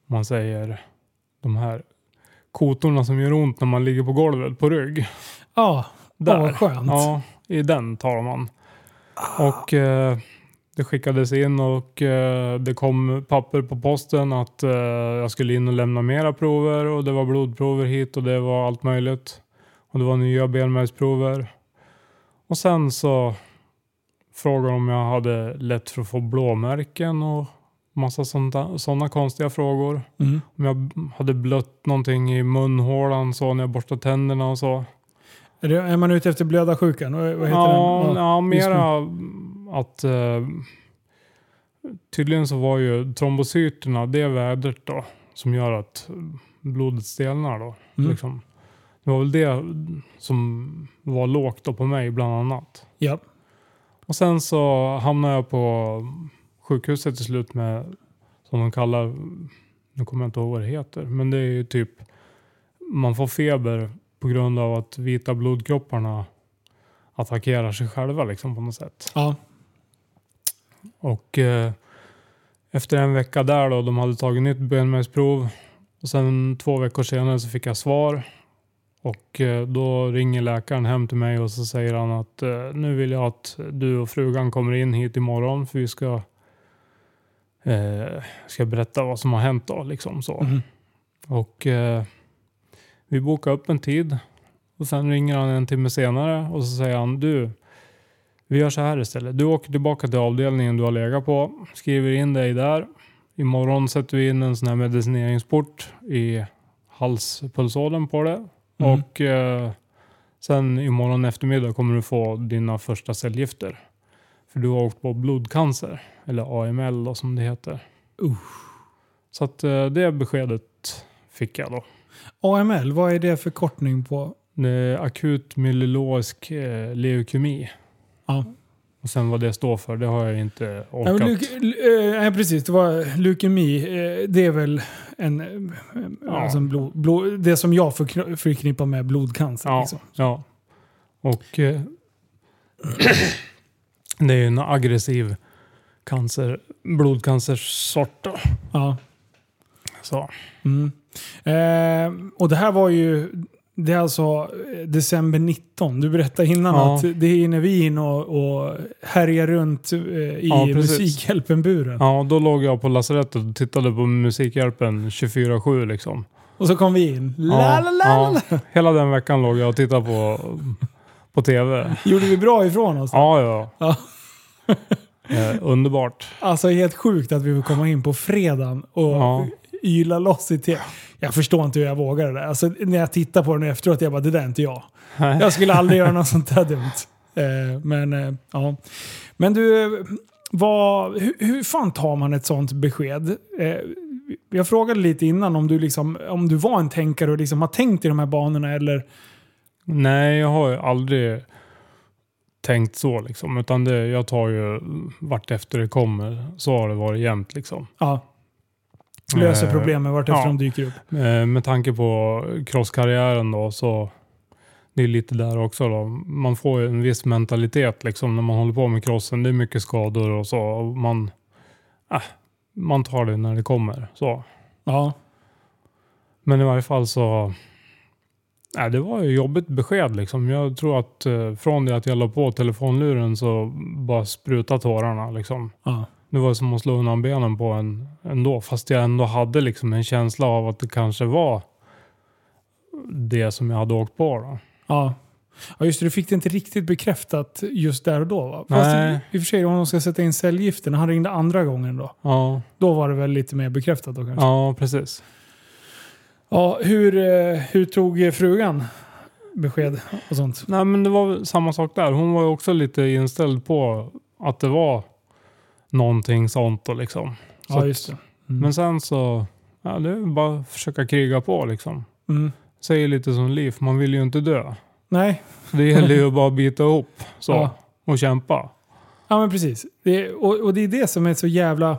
om man säger, de här kotorna som gör ont när man ligger på golvet på rygg. Ja, Där. åh, vad skönt. Ja, i den tar man. Och eh, det skickades in och eh, det kom papper på posten att eh, jag skulle in och lämna mera prover och det var blodprover hit och det var allt möjligt. Och det var nya benmärgsprover. Och sen så frågade de om jag hade lätt för att få blåmärken och massa sådana konstiga frågor. Mm. Om jag hade blött någonting i munhålan så när jag borstade tänderna och så. Är, det, är man ute efter blöda sjukan? Vad vad heter ja, den? Ja. ja, just nu. mera att eh, tydligen så var ju trombocyterna det vädret då som gör att blodet stelnar då. Mm. Liksom. Det var väl det som var lågt då på mig bland annat. Ja. Och sen så hamnade jag på sjukhuset till slut med, som de kallar, nu kommer jag inte ihåg vad det heter, men det är ju typ, man får feber på grund av att vita blodkropparna attackerar sig själva liksom på något sätt. Ja. Och eh, efter en vecka där då, de hade tagit nytt benmärgsprov och sen två veckor senare så fick jag svar. Och eh, då ringer läkaren hem till mig och så säger han att eh, nu vill jag att du och frugan kommer in hit imorgon för vi ska, eh, ska berätta vad som har hänt då liksom så. Mhm. Och eh, vi bokar upp en tid. Och sen ringer han en timme senare och så säger han du, vi gör så här istället. Du åker tillbaka till avdelningen du har legat på, skriver in dig där. Imorgon sätter vi in en sån här medicineringsport i halspulsådern på det. Mm. Och eh, sen imorgon eftermiddag kommer du få dina första cellgifter. För du har åkt på blodcancer, eller AML då, som det heter. Uh. Så att eh, det beskedet fick jag då. AML, vad är det för kortning på? Det är akut myeloisk eh, leukemi. Ja. Och sen vad det står för, det har jag inte Ja, orkat. men leuke- eh, nej, precis. Det var leukemi. eh, Det är väl en, eh, Ja. alltså en blod, blod, det som jag förkn- förknippar med blodcancer. Ja, Liksom. ja. Och eh, det är ju en aggressiv cancer, blodcancersort. då. Ja. Så. Mm. Eh, och det här var ju, det är alltså eh, december 19. Du berättade innan Ja. att det är när vi är inne och, och härjar runt eh, i Ja, precis. Musikhjälpen-buren. Ja, då låg jag på lasarettet och tittade på Musikhjälpen 24-7 liksom. Och så kom vi in. La, Ja, la, la, la, la. ja. Hela den veckan låg jag och tittade på, på tv. Gjorde vi bra ifrån oss? Ja, ja. Ja. Eh, underbart. Alltså helt sjukt att vi får komma in på fredagen och Ja. yla loss i tv. Jag förstår inte hur jag vågar det där. Alltså, när jag tittar på den efteråt, jag bara det där är inte jag. Nej. Jag skulle aldrig göra något sånt där dumt. Eh, men eh, ja. Men du, vad, hur, hur fan tar man ett sånt besked? Eh, jag frågade lite innan om du, liksom, om du var en tänkare och liksom har tänkt i de här banorna eller... Nej, jag har ju aldrig tänkt så liksom. Utan det, jag tar ju vart efter det kommer. Så har det varit jämt liksom. Ja, löser Eh, problemen vartefter ja. de dyker upp. Eh, med tanke på crosskarriären då så det är lite där också då. Man får ju en viss mentalitet liksom när man håller på med crossen. Det är mycket skador och så. Och man, äh, man tar det när det kommer. Så. Ja. Men i varje fall så... Nej, det var ju jobbigt besked liksom. Jag tror att eh, från det att jag la på telefonluren så bara spruta tårarna liksom. ja. Det var som att slå undan benen på en ändå. Fast jag ändå hade liksom en känsla av att det kanske var det som jag hade åkt på då. Ja. Ja just det, du fick det inte riktigt bekräftat just där och då va? Fast Nej. i i och för sig om de ska sätta in cellgiften, han ringde andra gången då. Ja, Då var det väl lite mer bekräftat då kanske? Ja, ja precis. hur, eh, hur tog frugan besked och sånt? Nej men det var väl samma sak där. Hon var ju också lite inställd på att det var någonting sånt då liksom. Så Ja att- just det. Mm. Men sen så, ja det är väl bara att försöka kriga på liksom. Mm. Säger lite som Liv, man vill ju inte dö. Nej, Så det gäller ju bara att bita ihop så, Ja. och kämpa. ja men precis. Det, och, och det är det som är så jävla...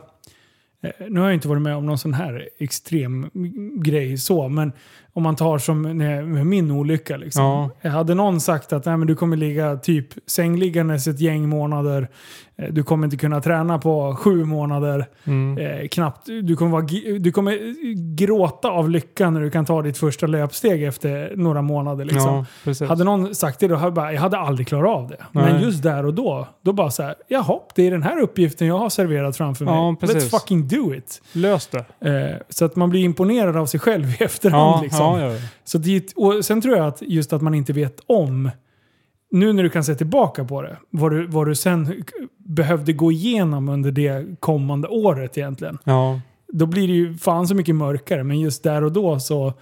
eh, Nu har jag inte varit med om någon sån här extrem grej så, men om man tar som när- med min olycka liksom. Ja. Jag Hade någon sagt att Nej, men du kommer ligga typ sängliggandes ett gäng månader, eh, du kommer inte kunna träna på sju månader, Mm. eh, knappt, du kommer, vara, gi- du kommer gråta av lycka när du kan ta ditt första löpsteg efter några månader. Liksom. Ja, precis. Hade någon sagt det då hade jag, bara, jag hade aldrig klarat av det. Men Nej. just där och då, då bara så här, jaha, det är den här uppgiften jag har serverat framför mig. Ja, precis. Let's fucking do it. Löst det. Eh, så att man blir imponerad av sig själv i efterhand. Ja, liksom. ja, ja. Så det, är ett- och sen tror jag att just att man inte vet om, nu när du kan se tillbaka på det, vad du, vad du sen k- behövde gå igenom under det kommande året egentligen. ja. Då blir det ju fan så mycket mörkare, men just där och då så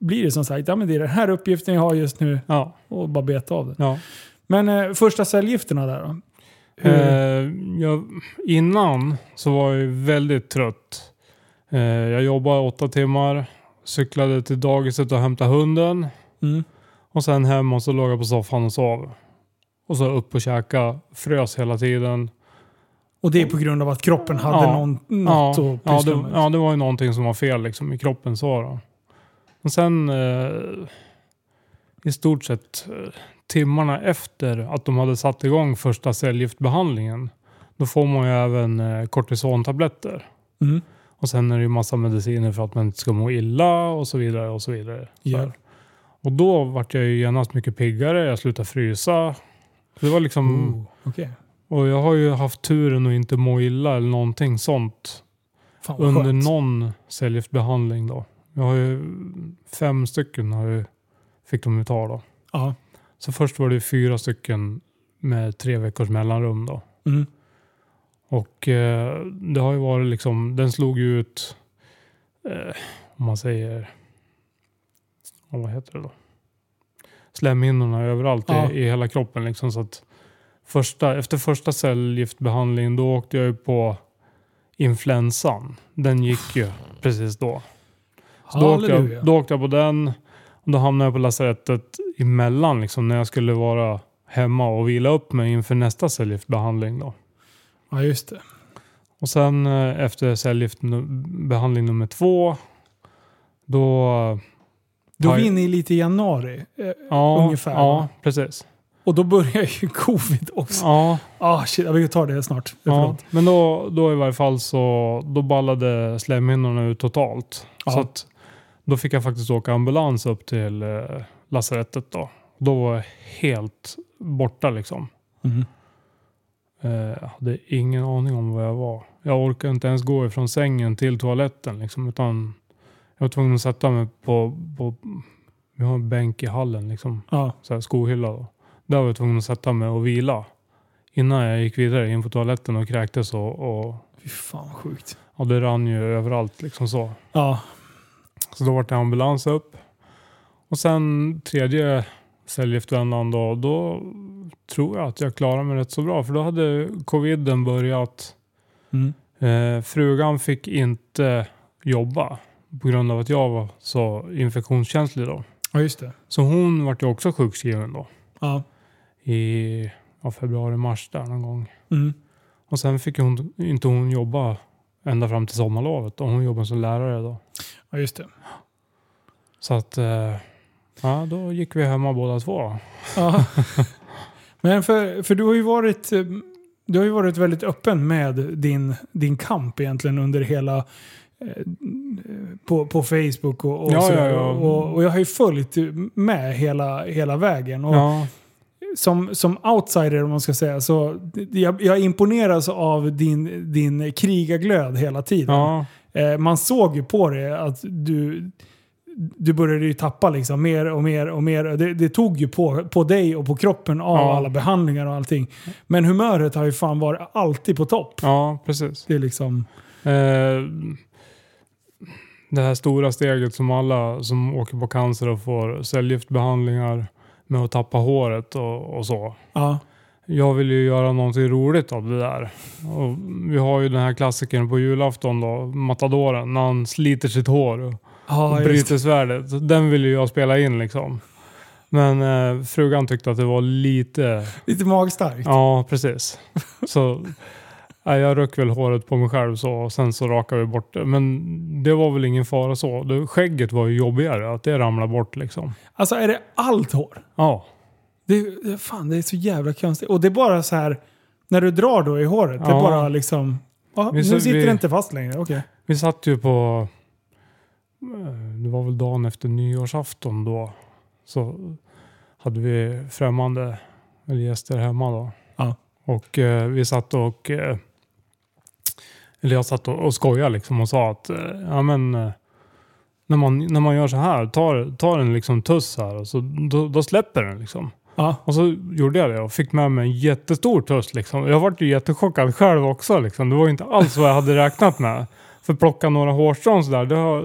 blir det som sagt, ja men det är den här uppgiften jag har just nu ja, och bara beta av den. ja. Men eh, första cellgifterna där då? Hur, Eh, jag, innan så var jag ju väldigt trött. Eh, jag jobbade åtta timmar, cyklade till dagiset och hämtade hunden. mm, Och sen hem och så låg jag på soffan och sov. Och så upp och käka, frös hela tiden. och det är på grund av att kroppen hade Ja. någon, något att ja, pyssla det, med? ja, det var ju någonting som var fel liksom, i kroppen. Så, då. Och sen eh, i stort sett eh, timmarna efter att de hade satt igång första cellgiftbehandlingen. Då får man ju även eh, kortisontabletter. Mm. Och sen är det ju massa mediciner för att man inte ska må illa och så vidare. Och så vidare. Ja. Så här. Och då vart jag ju genast mycket piggare. Jag slutade frysa. Det var liksom... Oh, okej. Och jag har ju haft turen att inte må illa eller någonting sånt Fan vad under skönt. någon cellgiftbehandling då. Jag har ju fem stycken har jag, fick de ju ta då. Ja. Så först var det fyra stycken med tre veckors mellanrum då. Mm. Och eh, det har ju varit liksom, den slog ju ut, eh, om man säger, ja, vad heter det då? Slemhinnorna överallt Ja. i, i hela kroppen liksom. Så att första, efter första cellgiftbehandlingen då åkte jag ju på influensan. Den gick ju precis då. Så då åkte, jag, då åkte jag på den. Och då hamnade jag på lasarettet emellan liksom, när jag skulle vara hemma och vila upp mig inför nästa cellgiftbehandling. Då. Ja, just det. Och sen eh, efter cellgiftbehandling nummer två, då... Då har är vi jag- inne i lite i januari. eh, ja, ungefär, va? Ja, precis. Och då börjar ju covid också. Ja, Ah, shit, ja, vi tar det snart. ja. Förlåt. Men då, då i varje fall så då ballade slemhinnorna ut totalt. Ja. Så att, då fick jag faktiskt åka ambulans upp till eh, lasarettet. Då. då var jag helt borta liksom. Mhm. Eh, Jag hade ingen aning om var jag var. Jag orkade inte ens gå ifrån sängen till toaletten. Liksom, utan jag var tvungen att sätta mig på, på vi har en bänk i hallen, liksom, Ja. så här skohylla. Då. Där var jag tvungen att sätta mig och vila. Innan jag gick vidare in på toaletten och kräktes och, och, Fy fan vad sjukt. och det rann ju överallt. Liksom så. Ja, Så då var det ambulans upp. Och sen tredje cellgiftvändan då, då tror jag att jag klarade mig rätt så bra. För då hade coviden börjat mm. Eh, frugan fick inte jobba på grund av att jag var så infektionskänslig då. ja just det. Så hon vart ju också sjukskriven då Ja. i ja, februari-mars där någon gång. Mm. Och sen fick hon, inte hon jobba ända fram till sommarlovet och hon jobbade som lärare då. ja, just det. Så att eh, ja, då gick vi hemma båda två. Ja. Men för, för du har ju varit... eh, Du har ju varit väldigt öppen med din, din kamp egentligen under hela... eh, På, på Facebook och, och Ja, sådär. ja, ja. Och, och jag har ju följt med hela, hela vägen. Och Ja, som, som outsider om man ska säga så jag, jag imponeras av din, din krigarglöd hela tiden. ja, Eh, man såg ju på det att du, du började ju tappa liksom mer och mer och mer. Det, det tog ju på, på dig och på kroppen av Ja. alla behandlingar och allting. Men humöret har ju fan varit alltid på topp. ja precis. Det är liksom... Eh, det här stora steget som alla som åker på cancer och får cellgiftbehandlingar med att tappa håret och, och så. Ja, Jag vill ju göra någonting roligt av det där. Och vi har ju den här klassikern på julafton då, matadoren, när han sliter sitt hår och ja just, bryter svärdet. Den vill ju jag spela in liksom. Men eh, frugan tyckte att det var lite lite magstarkt. Ja, precis. Så nej, jag röck väl håret på mig själv så, och sen så rakade vi bort det. Men det var väl ingen fara så. Det, skägget var ju jobbigare, att det ramlade bort liksom. Alltså är det allt hår? Ja, Det, det, fan, det är så jävla konstigt. Och det är bara så här, när du drar då i håret, det är Ja. bara liksom... Ja, nu Vi- sitter vi- det inte fast längre. Okej. vi satt ju på... eh, Det var väl dagen efter nyårsafton då. Så hade vi främmande eller gäster hemma då. Ja. Och eh, vi satt och... Eh, eller jag satt och, och skojade liksom och sa att eh, ja men... Eh, när man, när man gör så här, tar, tar en liksom tuss här och så, då, då släpper den liksom. Ja. Och så gjorde jag det och fick med mig en jättestor tuss liksom. Jag vart ju jättechockad själv också liksom. Det var ju inte alls vad jag hade räknat med. För plocka några hårstrån sådär, det, har-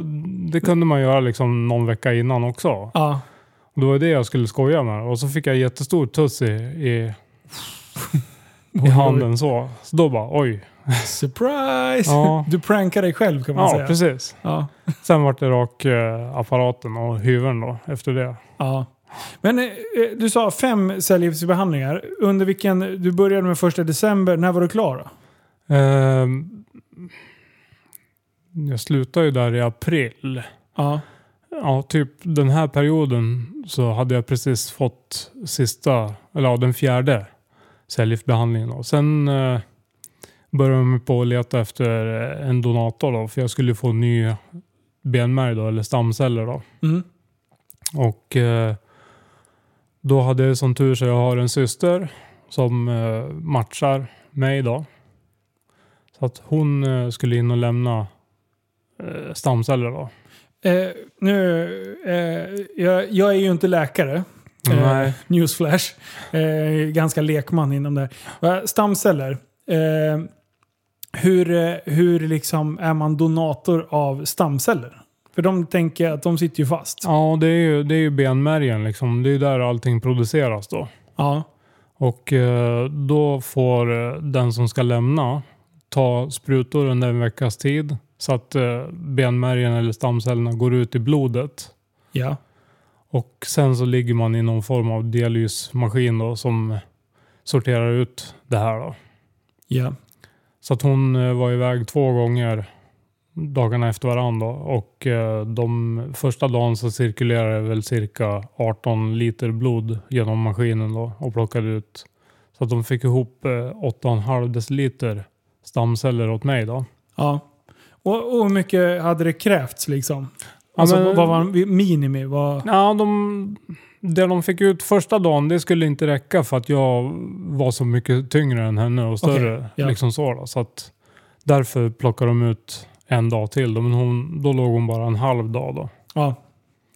det kunde man göra liksom någon vecka innan också. Ja. Och det var det jag skulle skoja med. Och så fick jag jättestor tuss i, i, i handen så. Så då bara oj. Surprise! Ja. Du prankar dig själv kan man Ja, säga. precis. Ja, Sen vart det rak eh, apparaten och huven då efter det. ja. Men eh, eh, du sa fem cellgiftsbehandlingar. Under vilken, du började med första december, när var du klar då? Ehm, jag slutade ju där i april. Ja, Ja, typ den här perioden så hade jag precis fått sista, eller ja, den fjärde cellgiftbehandlingen. då. Sen eh, började jag med på att leta efter eh, en donator då, för jag skulle få ny benmärg då, eller stamceller då. mm. Och eh, då hade jag som tur så jag har en syster som eh, matchar mig då. Så att hon eh, skulle in och lämna eh, stamceller då. eh, nu, eh, jag, jag är ju inte läkare. Eh, newsflash. Eh, ganska lekman inom det här. Eh, Stamceller. Eh, hur, eh, hur liksom är man donator av stamceller? För de tänker att de sitter ju fast. Ja, det är ju, det är ju benmärgen liksom. Det är ju där allting produceras då. Ja. Och eh, då får eh, den som ska lämna ta sprutor under en veckas tid så att eh, benmärgen eller stamcellerna går ut i blodet. Ja. Och sen så ligger man i någon form av dialysmaskin då som sorterar ut det här då. Ja. Så att hon eh, var iväg två gånger dagarna efter varandra då. och eh, de första dagen så cirkulerade väl cirka 18 liter blod genom maskinen då och plockade ut. Så att de fick ihop eh, 8,5 deciliter stamceller åt mig då. ja. Och, och hur mycket hade det krävts liksom? Alltså men- vad var minimi? Vad, Ja, de, det de fick ut första dagen, det skulle inte räcka för att jag var så mycket tyngre än henne och större. ja. liksom så, då. så att därför plockade de ut en dag till. då. Men hon, då låg hon bara en halv dag då. ja.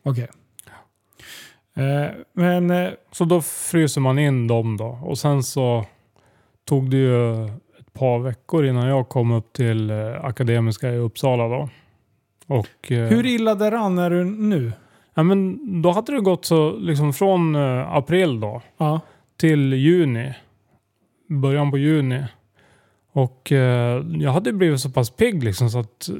Okej. Eh, men eh, Så då fryser man in dem då. Och sen så tog det ju ett par veckor innan jag kom upp till eh, Akademiska i Uppsala då. Och, eh, hur illa däran är du nu? ja, men då hade det gått så liksom från eh, april då. Ja. till juni. Början på juni. Och eh, jag hade blivit så pass pigg liksom så att eh,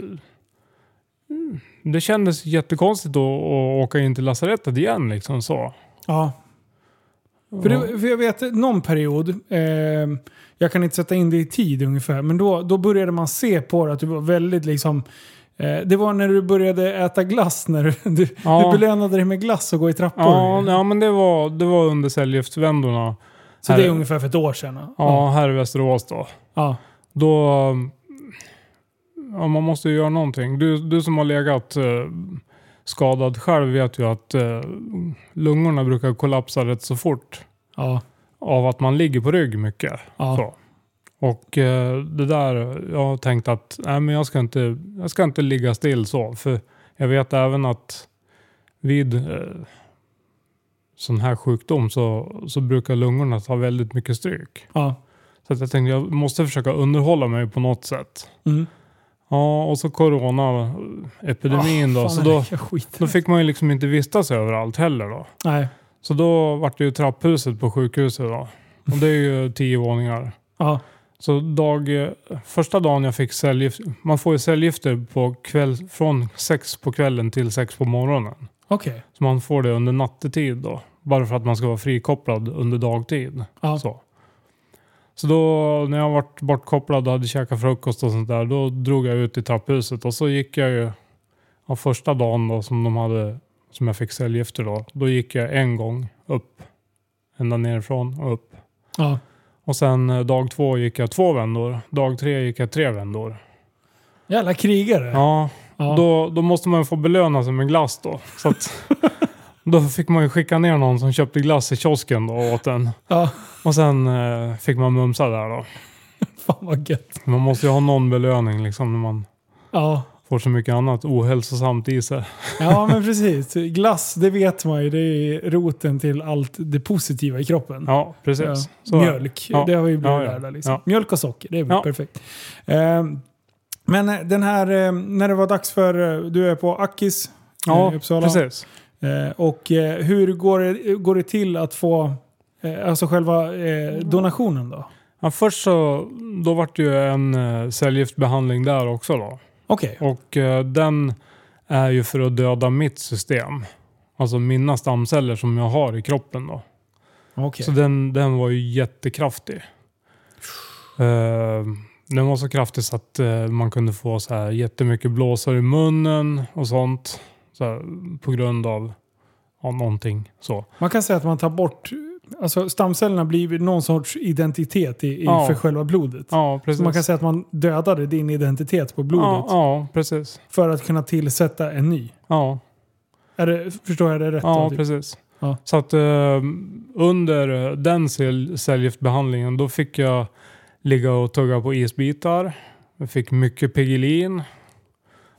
mm, det kändes jättekonstigt att, att åka in till lasarettet igen liksom så. ja. För, det, för jag vet någon period, eh, jag kan inte sätta in det i tid ungefär, men då, då började man se på det att du var väldigt liksom eh, det var när du började äta glass, när du, du, Ja. du belönade dig med glass och gå i trappor. Ja, ja men det var, det var under säljhjälpsvändorna. Så det är Här- ungefär för ett år sedan. Ja, här i Västerås då. ja. Då... Ja, man måste ju göra någonting. Du, du som har legat eh, skadad själv vet ju att eh, lungorna brukar kollapsa rätt så fort. ja. av att man ligger på rygg mycket. ja. Så. Och eh, det där, jag har tänkt att nej, men jag, ska inte, jag ska inte ligga still så. För jag vet även att vid eh, sån här sjukdom så, så brukar lungorna ta väldigt mycket stryk. ja. Så att jag tänkte jag måste försöka underhålla mig på något sätt. Mm. Ja, och så coronaepidemin då. Fan, Så det då, verkar skit. då fick man ju liksom inte vistas överallt heller då. Nej. Så då vart det ju trapphuset på sjukhuset då. Och det är ju tio våningar. Ja. Så dag, eh, första dagen jag fick cellgift, man får ju cellgifter på kväll, från sex på kvällen till sex på morgonen. Okej. Så man får det under nattetid då. Bara för att man ska vara frikopplad under dagtid. Ja. Så. så då när jag varit bortkopplad och hade käkat frukost och sånt där, då drog jag ut i trapphuset och så gick jag ju, ja, första dagen då som de hade, som jag fick cellgifter då, då gick jag en gång upp. Ända nerifrån och upp. Ja. Och sen eh, dag två gick jag två vändor. Dag tre gick jag tre vändor. Jävla krigare. Ja, Ja. Då, då måste man ju få belöna sig med glass då. Så att, då fick man ju skicka ner någon som köpte glass i kiosken då och åt den. ja. Och sen eh, fick man mumsa där då. Fan vad gött. Man måste ju ha någon belöning liksom när man Ja. får så mycket annat ohälsosamt i sig. ja, men precis. Glass, det vet man ju. Det är roten till allt det positiva i kroppen. Ja, Ja. precis. Så- Mjölk, Ja. det har vi blivit Ja, ja. lärda. Liksom. Ja. Mjölk och socker, det är Ja. perfekt. Eh, men eh, den här, eh, när det var dags för, eh, du är på Akis Ja, i Uppsala. precis. Eh, och eh, hur går det, går det till att få eh, alltså själva eh, donationen då? Ja, först så, då vart det ju en eh, cellgiftbehandling där också då. Okej, Och eh, den är ju för att döda mitt system. Alltså mina stamceller som jag har i kroppen då. okej. Så den, den var ju jättekraftig. Eh, den var så kraftig så att eh, man kunde få så här jättemycket blåsor i munnen och sånt. Så här, på grund av ja, någonting så. Man kan säga att man tar bort, alltså stamcellerna blir någon sorts identitet i, i, Ja. för själva blodet. Ja, precis. Så man kan säga att man dödade din identitet på blodet Ja, ja precis. för att kunna tillsätta en ny. Ja. Är det, förstår jag det rätt? Ja, då, typ? precis. Ja. Så att eh, under eh, den cell- cellgiftbehandlingen då fick jag ligga och tugga på isbitar. Jag fick mycket Piggelin.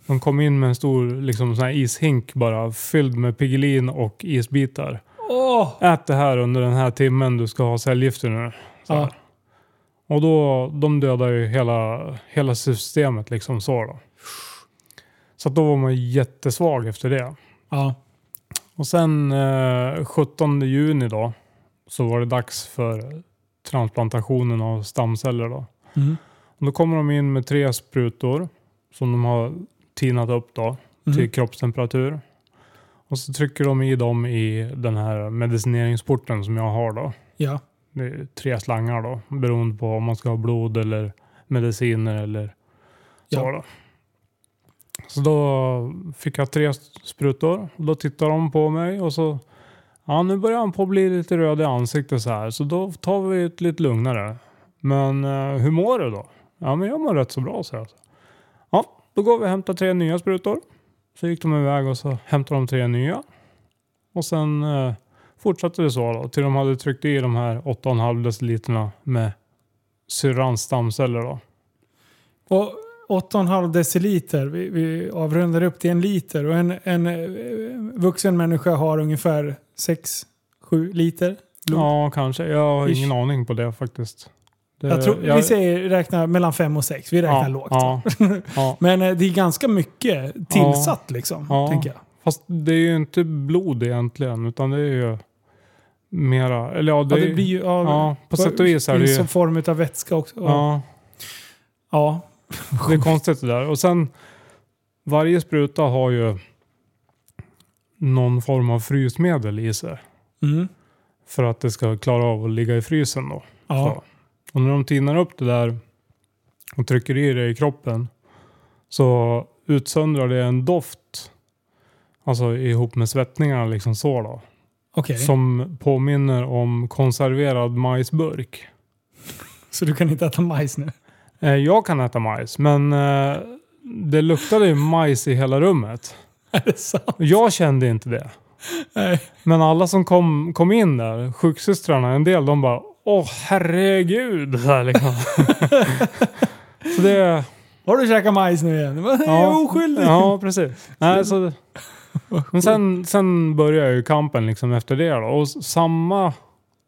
De kom in med en stor liksom, sån här ishink bara fylld med Piggelin och isbitar. Åh! Ät det här under den här timmen du ska ha cellgifter nu. Så här. Ja. Och då, de dödar ju hela, hela systemet liksom så då. Så att då var man jättesvag efter det. Ja. Och sen eh, 17 juni då så var det dags för transplantationen av stamceller då. Mm. Och då kommer de in med tre sprutor som de har tinat upp då Mhm. till kroppstemperatur. Och så trycker de i dem i den här medicineringsporten som jag har då. Ja. Det är tre slangar då, beroende på om man ska ha blod eller mediciner eller så Ja. då. Så då fick jag tre sprutor och då tittade de på mig och så Ja, nu börjar han på att bli lite röd i ansiktet så här, så då tar vi ett lite lugnare. Men eh, hur mår du då? Ja, men jag mår rätt så bra, så jag. Ja, då går vi och hämtar tre nya sprutor. Så gick de iväg och så hämtade de tre nya. Och sen eh, fortsatte det så då, till de hade tryckt i de här 8,5 deciliterna med syrrans stamceller då. Och 8,5 deciliter, vi, vi avrundar upp till en liter. Och en, en eh, vuxen människa har ungefär 6-7 liter. Blod. Ja, kanske. Jag har Ish. ingen aning på det faktiskt. Det, Jag tror, Vi säger räkna mellan 5 och 6, vi räknar Eh, ja, lågt. Ja, ja. Men eh, det är ganska mycket tillsatt liksom, Ja. tänker jag. Fast det är ju inte blod egentligen, utan det är ju mera... Eller ja, det, ja, det blir ju av, ja, på sätt och vis är det i ju... som form av vätska också. Ja, ja. det är konstigt det där. Och sen, varje spruta har ju någon form av frysmedel i sig. Mm. För att det ska klara av att ligga i frysen då. ja. Så. Och när de tinar upp det där och trycker i det i kroppen så utsöndrar det en doft. Alltså ihop med svettningarna liksom så då. Okej, Som påminner om konserverad majsburk. så du kan inte äta majs nu? Eh, Jag kan äta majs men eh, det luktade ju majs i hela rummet. Är det sant? Jag kände inte det. Nej. Men alla som kom, kom in där, sjuksystrarna, en del de bara Åh herregud! Så, här, liksom. så det... Har du käkat majs nu igen? Jag är oskyldig! Ja, precis. Nej, så, men sen, sen började ju kampen liksom efter det. Då. Och s- samma,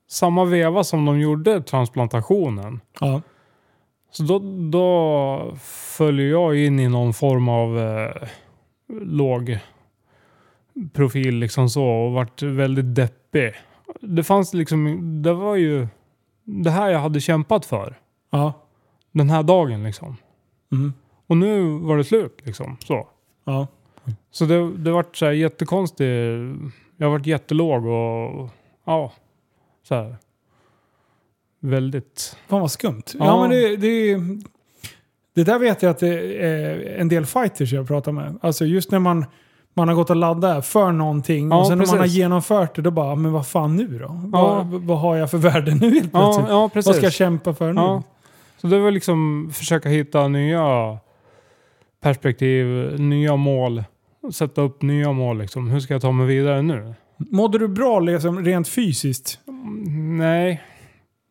samma veva som de gjorde transplantationen. Ja. Så då, då följer jag in i någon form av eh, låg profil liksom så och vart väldigt deppig. Det fanns liksom, det var ju det här jag hade kämpat för Ja. den här dagen liksom. Mm. Och nu var det slut liksom så. ja. Så det, det vart så här jättekonstig. Jag vart jättelåg och ja, så här. Väldigt. Fan vad skumt. Ja, Ja. men det, det, det där vet jag att det är en del fighters jag pratar med. Alltså just när man, man har gått och laddat för någonting Ja, och sen när man har precis. genomfört det då bara, men vad fan nu då? Ja. Vad, vad har jag för värde nu helt Ja, plötsligt? ja precis. vad ska jag kämpa för nu? ja. Så det var liksom försöka hitta nya perspektiv, nya mål, sätta upp nya mål liksom. Hur ska jag ta mig vidare nu? Mådde du bra liksom, rent fysiskt? Mm, Nej,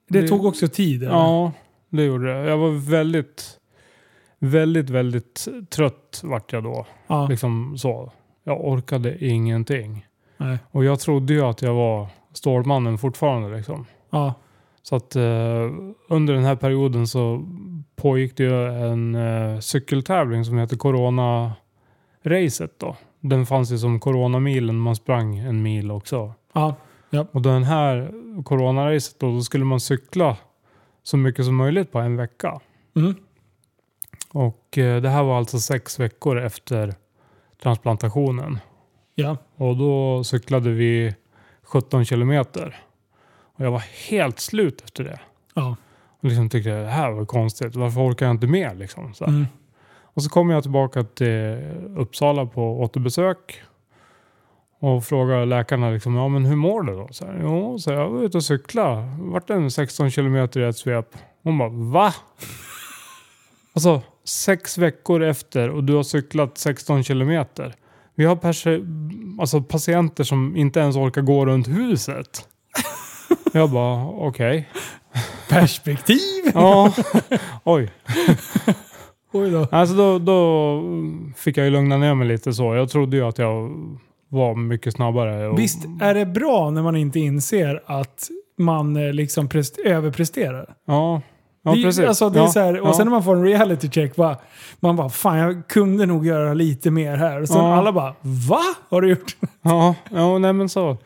Det, Det- tog också tid. eller? ja, det gjorde det. Jag var väldigt, väldigt, väldigt trött vart jag då. ja. Liksom så. Jag orkade ingenting. Nej. Och jag trodde ju att jag var Stålmannen fortfarande. Liksom. ja. Så att eh, under den här perioden så pågick det ju en eh, cykeltävling som heter Corona-racet då. Den fanns ju som Corona-milen, man sprang en mil också. ja. Och den här Corona-racet då, då skulle man cykla så mycket som möjligt på en vecka. Mm. Och eh, det här var alltså sex veckor efter transplantationen. ja. Och då cyklade vi 17 kilometer. Och jag var helt slut efter det. Ja. Och liksom tyckte det här var konstigt. Varför orkar jag inte mer? Liksom, så här. Mm. Och så kom jag tillbaka till Uppsala på återbesök. Och frågade läkarna liksom, ja, men hur mår du då? Så här, jo, så jag var ute och cykla. Vart en 16 kilometer i ett svep. Hon bara va? alltså sex veckor efter och du har cyklat 16 kilometer. Vi har perse- alltså, patienter som inte ens orkar gå runt huset. jag bara okej. Perspektiv! Ja, oj. Oj då. Alltså då, då fick jag ju lugna ner mig lite så. Jag trodde ju att jag var mycket snabbare. Och, Visst är det bra när man inte inser att man eh, liksom prest- överpresterar? Ja, ja Vi- precis. Alltså, det är ja, så här, och ja. sen när man får en reality check, bara, man bara fan jag kunde nog göra lite mer här. Och sen Ja. alla bara va? Har du gjort? Ja, ja nej men så.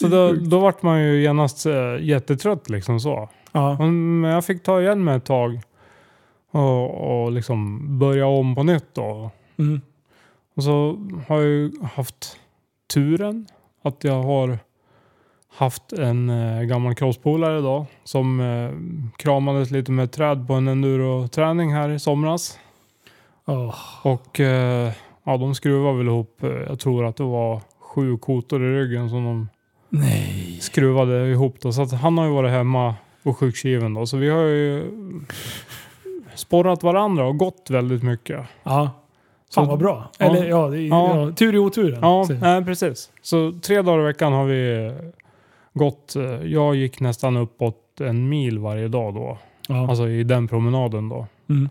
Så Det är då, sjukt. då vart man ju genast eh, jättetrött liksom så. Ja. Men jag fick ta igen mig ett tag. Och, och liksom börja om på nytt då. Mm. Och så har jag ju haft turen att jag har haft en eh, gammal crosspolare idag som eh, kramades lite med ett träd på en enduroträning här i somras. Åh, Och eh, ja, de skruvade väl ihop, eh, jag tror att det var sju kotor i ryggen som de nej. skruvade ihop. Då. Så att han har ju varit hemma och sjukskriven då. Så vi har ju sporrat varandra och gått väldigt mycket. Ja. Så, Fan vad bra. Ja. Eller ja, det, ja. Ja. tur i oturen. Ja, säger jag. nej, precis. Så tre dagar i veckan har vi eh, gått. eh, Jag gick nästan uppåt en mil varje dag då. ja. Alltså i den promenaden då. Mm.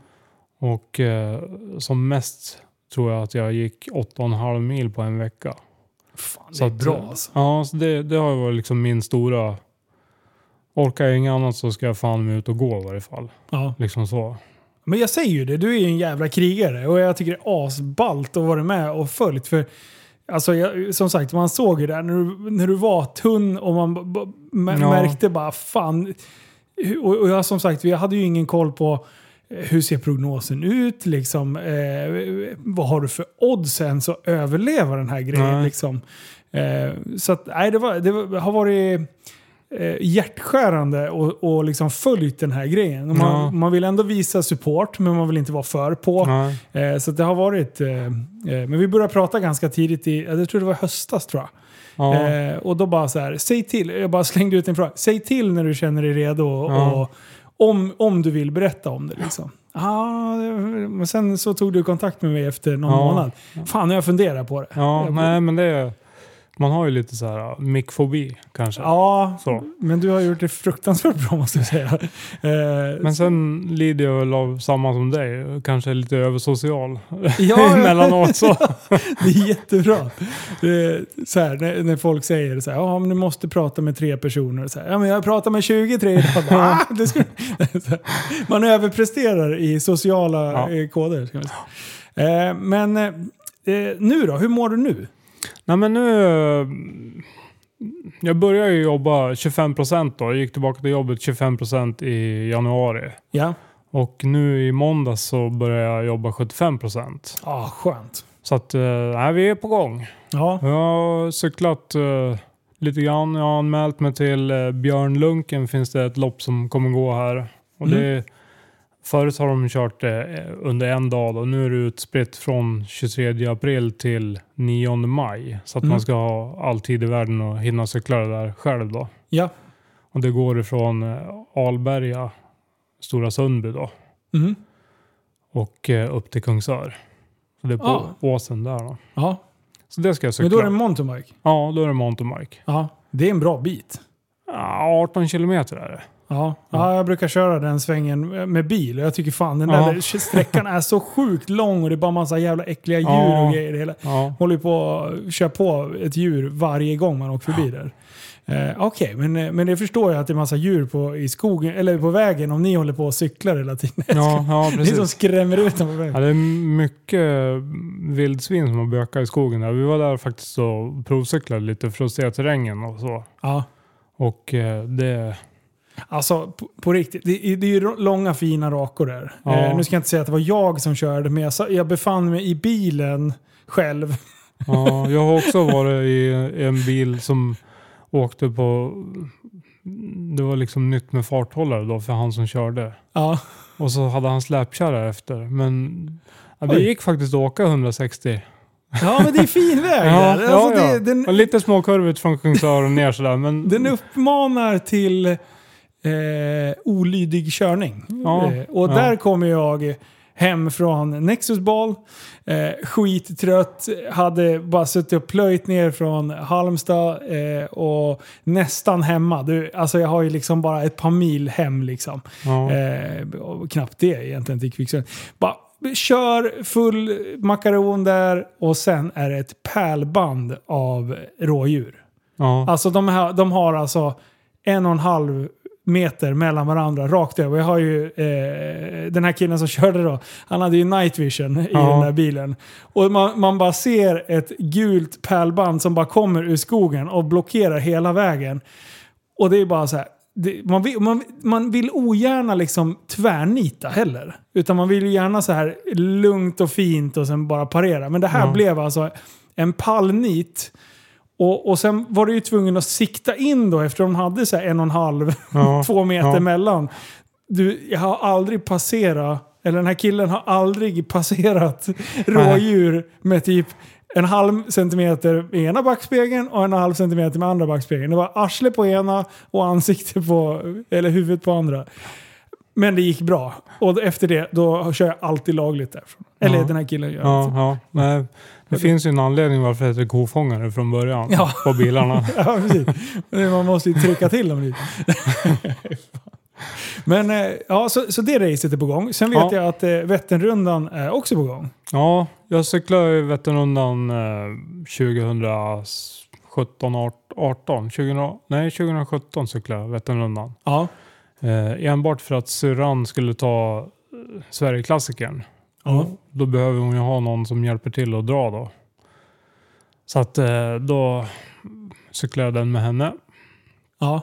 Och eh, som mest tror jag att jag gick åtta och en halv mil på en vecka. Fan, det Så är att, eh, bra alltså. Ja, så det, det har ju varit liksom min stora... Orkar jag inget annat så ska jag fan mig ut och gå i varje fall. Ja. Liksom så. Men jag säger ju det, du är ju en jävla krigare och jag tycker det är asballt att vara med och följt. För, alltså, jag, som sagt, man såg ju där när du, när du var tunn och man b- b- m- Ja. märkte bara fan. Och, och jag, som sagt, vi hade ju ingen koll på eh, hur ser prognosen ut? Liksom, eh, vad har du för odds ens att överleva den här grejen? Nej. Liksom? Eh, så att, nej, det, var, det var, har varit eh, hjärtskärande och, och liksom följt den här grejen. Och Man, Ja. man vill ändå visa support, men man vill inte vara för på. Nej. Eh, så att det har varit... Eh, eh, men vi började prata ganska tidigt i... Jag tror det var i höstas tror jag. Ja. Eh, och då bara så här, säg till. Jag bara slängde ut en fråga. Säg till när du känner dig redo. Och, Ja. och om, om du vill berätta om det liksom. Ah, det- men sen så tog du kontakt med mig efter någon Ja. månad. Fan, nu har jag funderat på det. Ja, jag- nej men det är... Man har ju lite så här eh, mikfobi kanske. Ja, Så. men du har gjort det fruktansvärt bra måste jag säga. Eh, Men sen lider jag väl av samma som dig. Kanske lite översocial ja, emellanåt. Så. Det är jättebra. Det är Så här, när, när folk säger så här, ja men du måste prata med tre personer. Så här, ja men jag pratar med 23 idag. Bara, "Ah, det ska... så här. Man överpresterar i sociala Ja. eh, koder. Ska man säga. Eh, Men eh, eh, nu då, hur mår du nu? Nej men nu... eh, Jag började ju jobba 25% då. Jag gick tillbaka till jobbet 25% i januari. Ja, Och nu i måndags så började jag jobba 75%. ah, skönt. Så att, eh, nej, vi är på gång. Ja, Jag har cyklat eh, lite grann. Jag har anmält mig till eh, Björnlunken finns det ett lopp som kommer gå här. Och Mm. det, förut har de kört det eh, under en dag och nu är det utspritt från 23 april till 9 maj. Så att Mm. man ska ha all tid i världen och hinna cykla det där själv då. ja. Och det går ifrån eh, Alberga, Stora Sundby då, Mhm. och eh, upp till Kungsör. Så det är på Ah. åsen där då. ja. Så det ska jag cykla. Men då är det en mountainbike? Ja, då är det mountainbike. Ja, det är en bra bit. Ja, 18 kilometer är det. Ja. ja, jag brukar köra den svängen med bil och jag tycker fan den där Ja. sträckan är så sjukt lång och det är bara massa jävla äckliga djur Ja. och grejer. i Hela. Ja. Håller ju på att köra på ett djur varje gång man åker förbi där. Eh, Okej, men, men det förstår jag att det är massa djur på, i skogen, eller på vägen om ni håller på och cyklar hela tiden. Ja, ja, Ni som precis. skrämmer ut dem på Ja, vägen. det är mycket vildsvin som har bökat i skogen där. Vi var där faktiskt och provcyklade lite för att se terrängen och så. Ja. Och eh, det... Alltså på, på riktigt, det, är- det är ju ro- långa fina rakor där. Ja. Eh, nu ska jag inte säga att det var jag som körde, men jag, sa- jag befann mig i bilen själv. Ja, jag har också varit i en bil som åkte på... Det var liksom nytt med farthållare då för han som körde. Ja. Och så hade han släpkärra efter. Men ja, det Oj. gick faktiskt att åka 160. Ja, men det är fin väg. Ja, där. ja, Alltså, ja. Det, den, Och lite småkurvigt från Kungsör och ner sådär. Men den uppmanar till eh, olydig körning. Ja, eh, och ja. där kommer jag hem från Nexus Ball. Eh, skittrött, hade bara suttit och plöjt ner från Halmstad eh, och nästan hemma. Du, alltså jag har ju liksom bara ett par mil hem liksom. ja. Eh, och knappt det egentligen till kvicksand. Bara kör full makaron där och sen är det ett pärlband av rådjur. ja. Alltså de, här, de har alltså en och en halv meter mellan varandra rakt över. Jag har ju eh, den här killen som körde då, han hade ju night vision i Ja. den där bilen. Och man, man bara ser ett gult pärlband som bara kommer ur skogen och blockerar hela vägen. Och det är bara så här, det, man, vill, man, man vill ogärna liksom tvärnita heller. Utan man vill ju gärna så här lugnt och fint och sen bara parera. Men det här Ja. blev alltså en pallnit. Och, och sen var du ju tvungen att sikta in då efter de hade så här en och en halv, Ja, två meter ja. mellan. Du, jag har aldrig passerat, eller den här killen har aldrig passerat rådjur med typ en halv centimeter med ena backspegeln och en halv centimeter med andra backspegeln. Det var arsle på ena och ansikte på, eller huvudet på andra. Men det gick bra. Och efter det, då kör jag alltid lagligt därifrån. Eller Ja. den här killen gör Ja, det. ja. Nej, det finns ju en anledning varför det heter kofångare från början Ja. på bilarna. Ja, precis. Men Man måste ju trycka till dem lite. Men eh, ja, så, så det racet är på gång. Sen vet Ja. jag att eh, Vätternrundan är också på gång. Ja, jag cyklade ju Vätternrundan eh, 2017, 18, 20, nej 2017 cyklade jag Vätternrundan. Ja. Eh, enbart för att syrran skulle ta eh, Sverigeklassikern. Ja. Då behöver hon ju ha någon som hjälper till att dra då. Så att eh, då cyklade jag den med henne. Ja.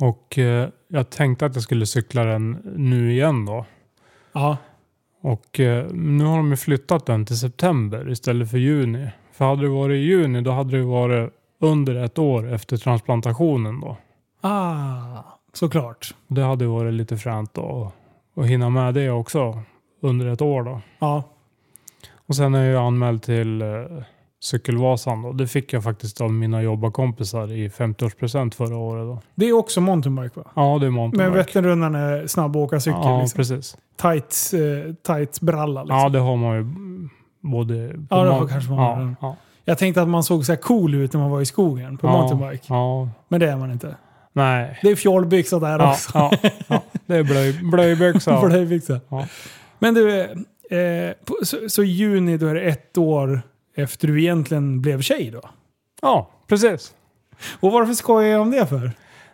Och eh, jag tänkte att jag skulle cykla den nu igen då. Ja. Och eh, nu har de ju flyttat den till september istället för juni. För hade det varit i juni då hade det varit under ett år efter transplantationen då. Ah, såklart. Det hade ju varit lite fränt då att hinna med det också under ett år då. Ja. Och sen är jag anmäld till eh, Cykelvasan då. Det fick jag faktiskt av mina jobbarkompisar i 50-årspresent förra året då. Det är också mountainbike va? Ja, det är Men mountainbike. Vätternrundan är snabbåkarcykel. Ja, liksom. precis. tights, eh, tights bralla liksom. Ja, det har man ju mm, både... på Ja, det har mount- kanske man har. ja, ja, Jag tänkte att man såg så här cool ut när man var i skogen på ja, mountainbike. Ja. Men det är man inte. Nej. Det är fjollbyxor där Ja, också. ja, ja. Det är blöj, För blöjbyxa. dig fixa. Ja. Men du, eh, på, så, så i juni då är det ett år efter du egentligen blev tjej då? Ja, precis. Och varför skojar jag om det för?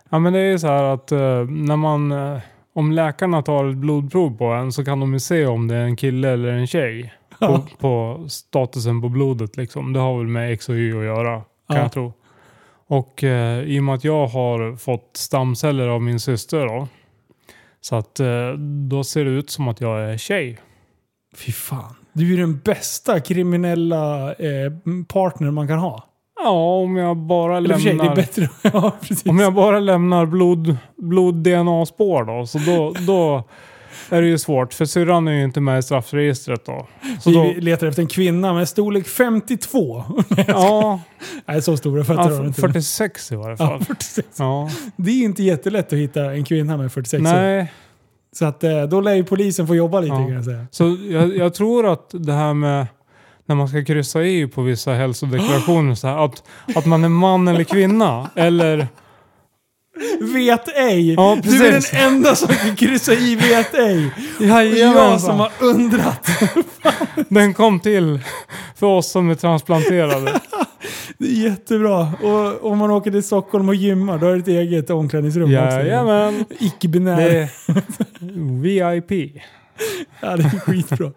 Ja, men det är ju så här att eh, när man... eh, om läkarna tar ett blodprov på en så kan de ju se om det är en kille eller en tjej. Ja. På, på statusen på blodet liksom. Det har väl med X och Y att göra, kan Ja. jag tro. Och eh, i och med att jag har fått stamceller av min syster då. Så att eh, då ser det ut som att jag är tjej. Fy fan. Du är ju den bästa kriminella eh, partner man kan ha. Ja, om jag bara Eller lämnar... för sig, det är bättre. ja, precis. Om jag bara lämnar blod, blod-DNA-spår då, så då, då är det ju svårt. För syrran är ju inte med i straffregistret då. Så Vi då letar efter en kvinna med storlek 52. ja, Nej, så stora fötter har ja, du inte. 46 i varje Ja, fall. 46. Ja. Det är inte jättelätt att hitta en kvinna med 46 år. Nej, Så att, eh, då lär ju polisen få jobba lite Ja. kan jag säga. så jag, jag tror att det här med när man ska kryssa i på vissa hälsodeklarationer så här, att, att man är man eller kvinna. Eller, Vet ej! Ja, du är precis. den enda som kan kryssa i vet ej! Det är jag som jajamensan, har undrat. den kom till för oss som är transplanterade. Det är jättebra. Och om man åker till Stockholm och gymmar, då är det ett eget omklädningsrum också. Jajamän. Icke-binär. Det är VIP. Ja, det är skitbra.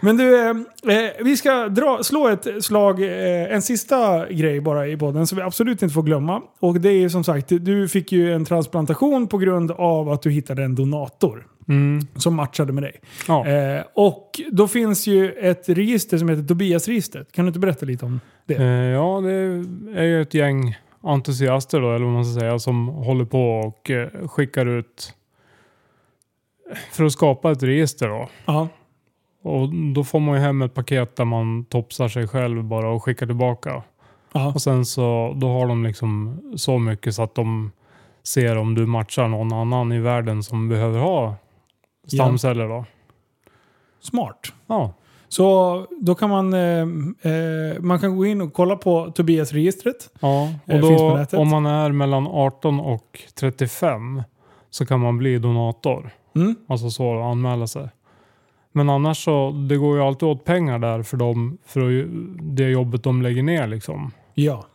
Men du, eh, eh, vi ska dra, slå ett slag, eh, en sista grej bara i podden som vi absolut inte får glömma. Och det är ju som sagt, du fick ju en transplantation på grund av att du hittade en donator Mm. som matchade med dig. Ja. Eh, och då finns ju ett register som heter Tobias-registret. Kan du inte berätta lite om Eh, Ja, det är ju ett gäng entusiaster då, eller vad man ska säga, som håller på och eh, skickar ut eh, för att skapa ett register då. Ja. Och då får man ju hem ett paket där man topsar sig själv bara och skickar tillbaka. Ja. Och sen så, då har de liksom så mycket så att de ser om du matchar någon annan i världen som behöver ha stamceller då. Smart. Ja, Så då kan man, eh, eh, man kan gå in och kolla på Tobias-registret. ja. Eh, och finns på då nätet. om man är mellan 18 och 35 så kan man bli donator. Mm. Alltså så att anmäla sig. Men annars så, det går ju alltid åt pengar där för, dem, för ju- det jobbet de lägger ner liksom. Ja.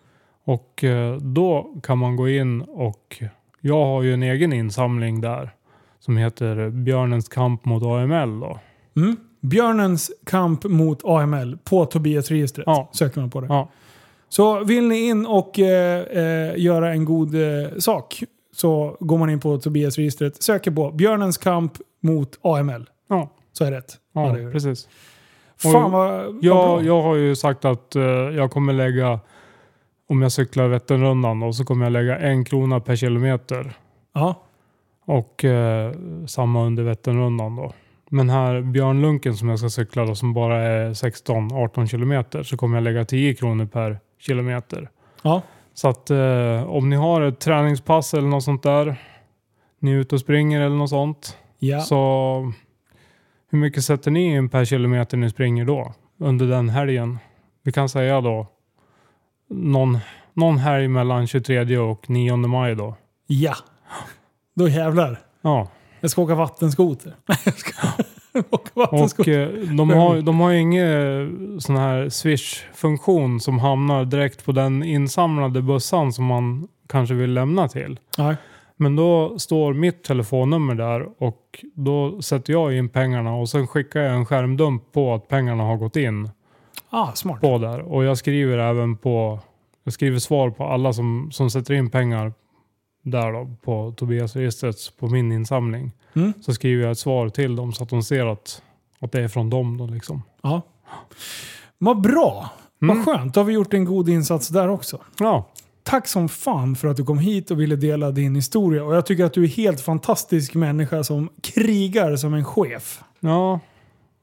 Och eh, då kan man gå in och, jag har ju en egen insamling där. Som heter Björnens kamp mot AML då. Mm. Björnens kamp mot AML på Tobias-registret. Ja. Söker man på det. Ja. Så vill ni in och eh, eh, göra en god eh, sak så går man in på Tobias-registret, söker på Björnens kamp mot AML. Ja. Så är det rätt. Ja, Ja, det är det. precis. Fan vad, Mm, vad Jag, bra. jag har ju sagt att eh, jag kommer lägga, om jag cyklar Vätternrundan, då, så kommer jag lägga en krona per kilometer. Ja. Och eh, samma under Vätternrundan då. Men här Björnlunken som jag ska cykla då, som bara är 16-18 kilometer, så kommer jag lägga 10 kronor per kilometer. Ja. Så att eh, om ni har ett träningspass eller något sånt där, ni är ute och springer eller något sånt, Ja. så hur mycket sätter ni in per kilometer ni springer då? Under den helgen? Vi kan säga då någon, någon helg mellan 23 och 9 maj då. ja. Då jävlar. Ja. Jag ska åka vattenskoter. Nej, jag ska åka Och vattenskoter. eh, de har, de har ju ingen sån här swish-funktion som hamnar direkt på den insamlade bössan som man kanske vill lämna till. Nej. Men då står mitt telefonnummer där och då sätter jag in pengarna och sen skickar jag en skärmdump på att pengarna har gått in Ah, smart. på där. Och jag skriver även på, jag skriver svar på alla som, som sätter in pengar där då på Tobias-registret på min insamling. Mm. Så skriver jag ett svar till dem så att de ser att, att det är från dem då liksom. Ja. Vad bra. Mm. Vad skönt. Då har vi gjort en god insats där också. Ja, Tack som fan för att du kom hit och ville dela din historia. Och jag tycker att du är helt fantastisk människa som krigar som en chef. ja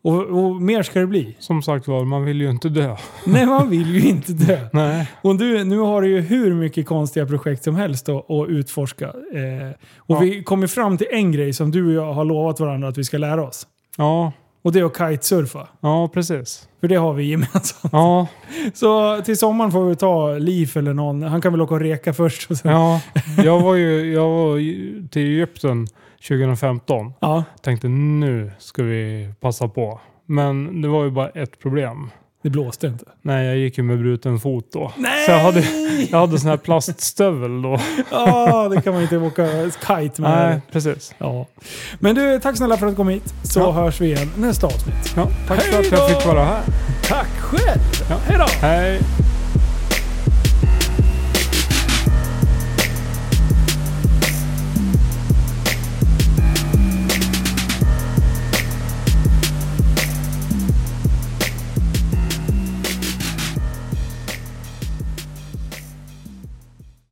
Och, och mer ska det bli. som sagt var, man vill ju inte dö. Nej, man vill ju inte dö. Nej. Och du, nu har du ju hur mycket konstiga projekt som helst att, att utforska. Eh, och Ja. vi kommer fram till en grej som du och jag har lovat varandra att vi ska lära oss. Ja, Och det är att kitesurfa. ja precis. För det har vi gemensamt. Ja, Så till sommaren får vi ta Liv eller någon. Han kan väl åka och reka först. Och sen. ja. Jag var ju jag var ju till Egypten 2015. Ja, Tänkte nu ska vi passa på. Men det var ju bara ett problem. det blåste inte. Nej, jag gick ju med bruten fot då. Så jag hade, jag hade sån här plaststövel då. Ja, det kan man inte åka kite med. Nej, precis. Ja. Men du, tack snälla för att du kom hit. Så Ja. hörs vi igen nästa avsnitt. Ja, tack för Hej att jag då! fick vara här. Tack själv! Ja. Hej då! Hej!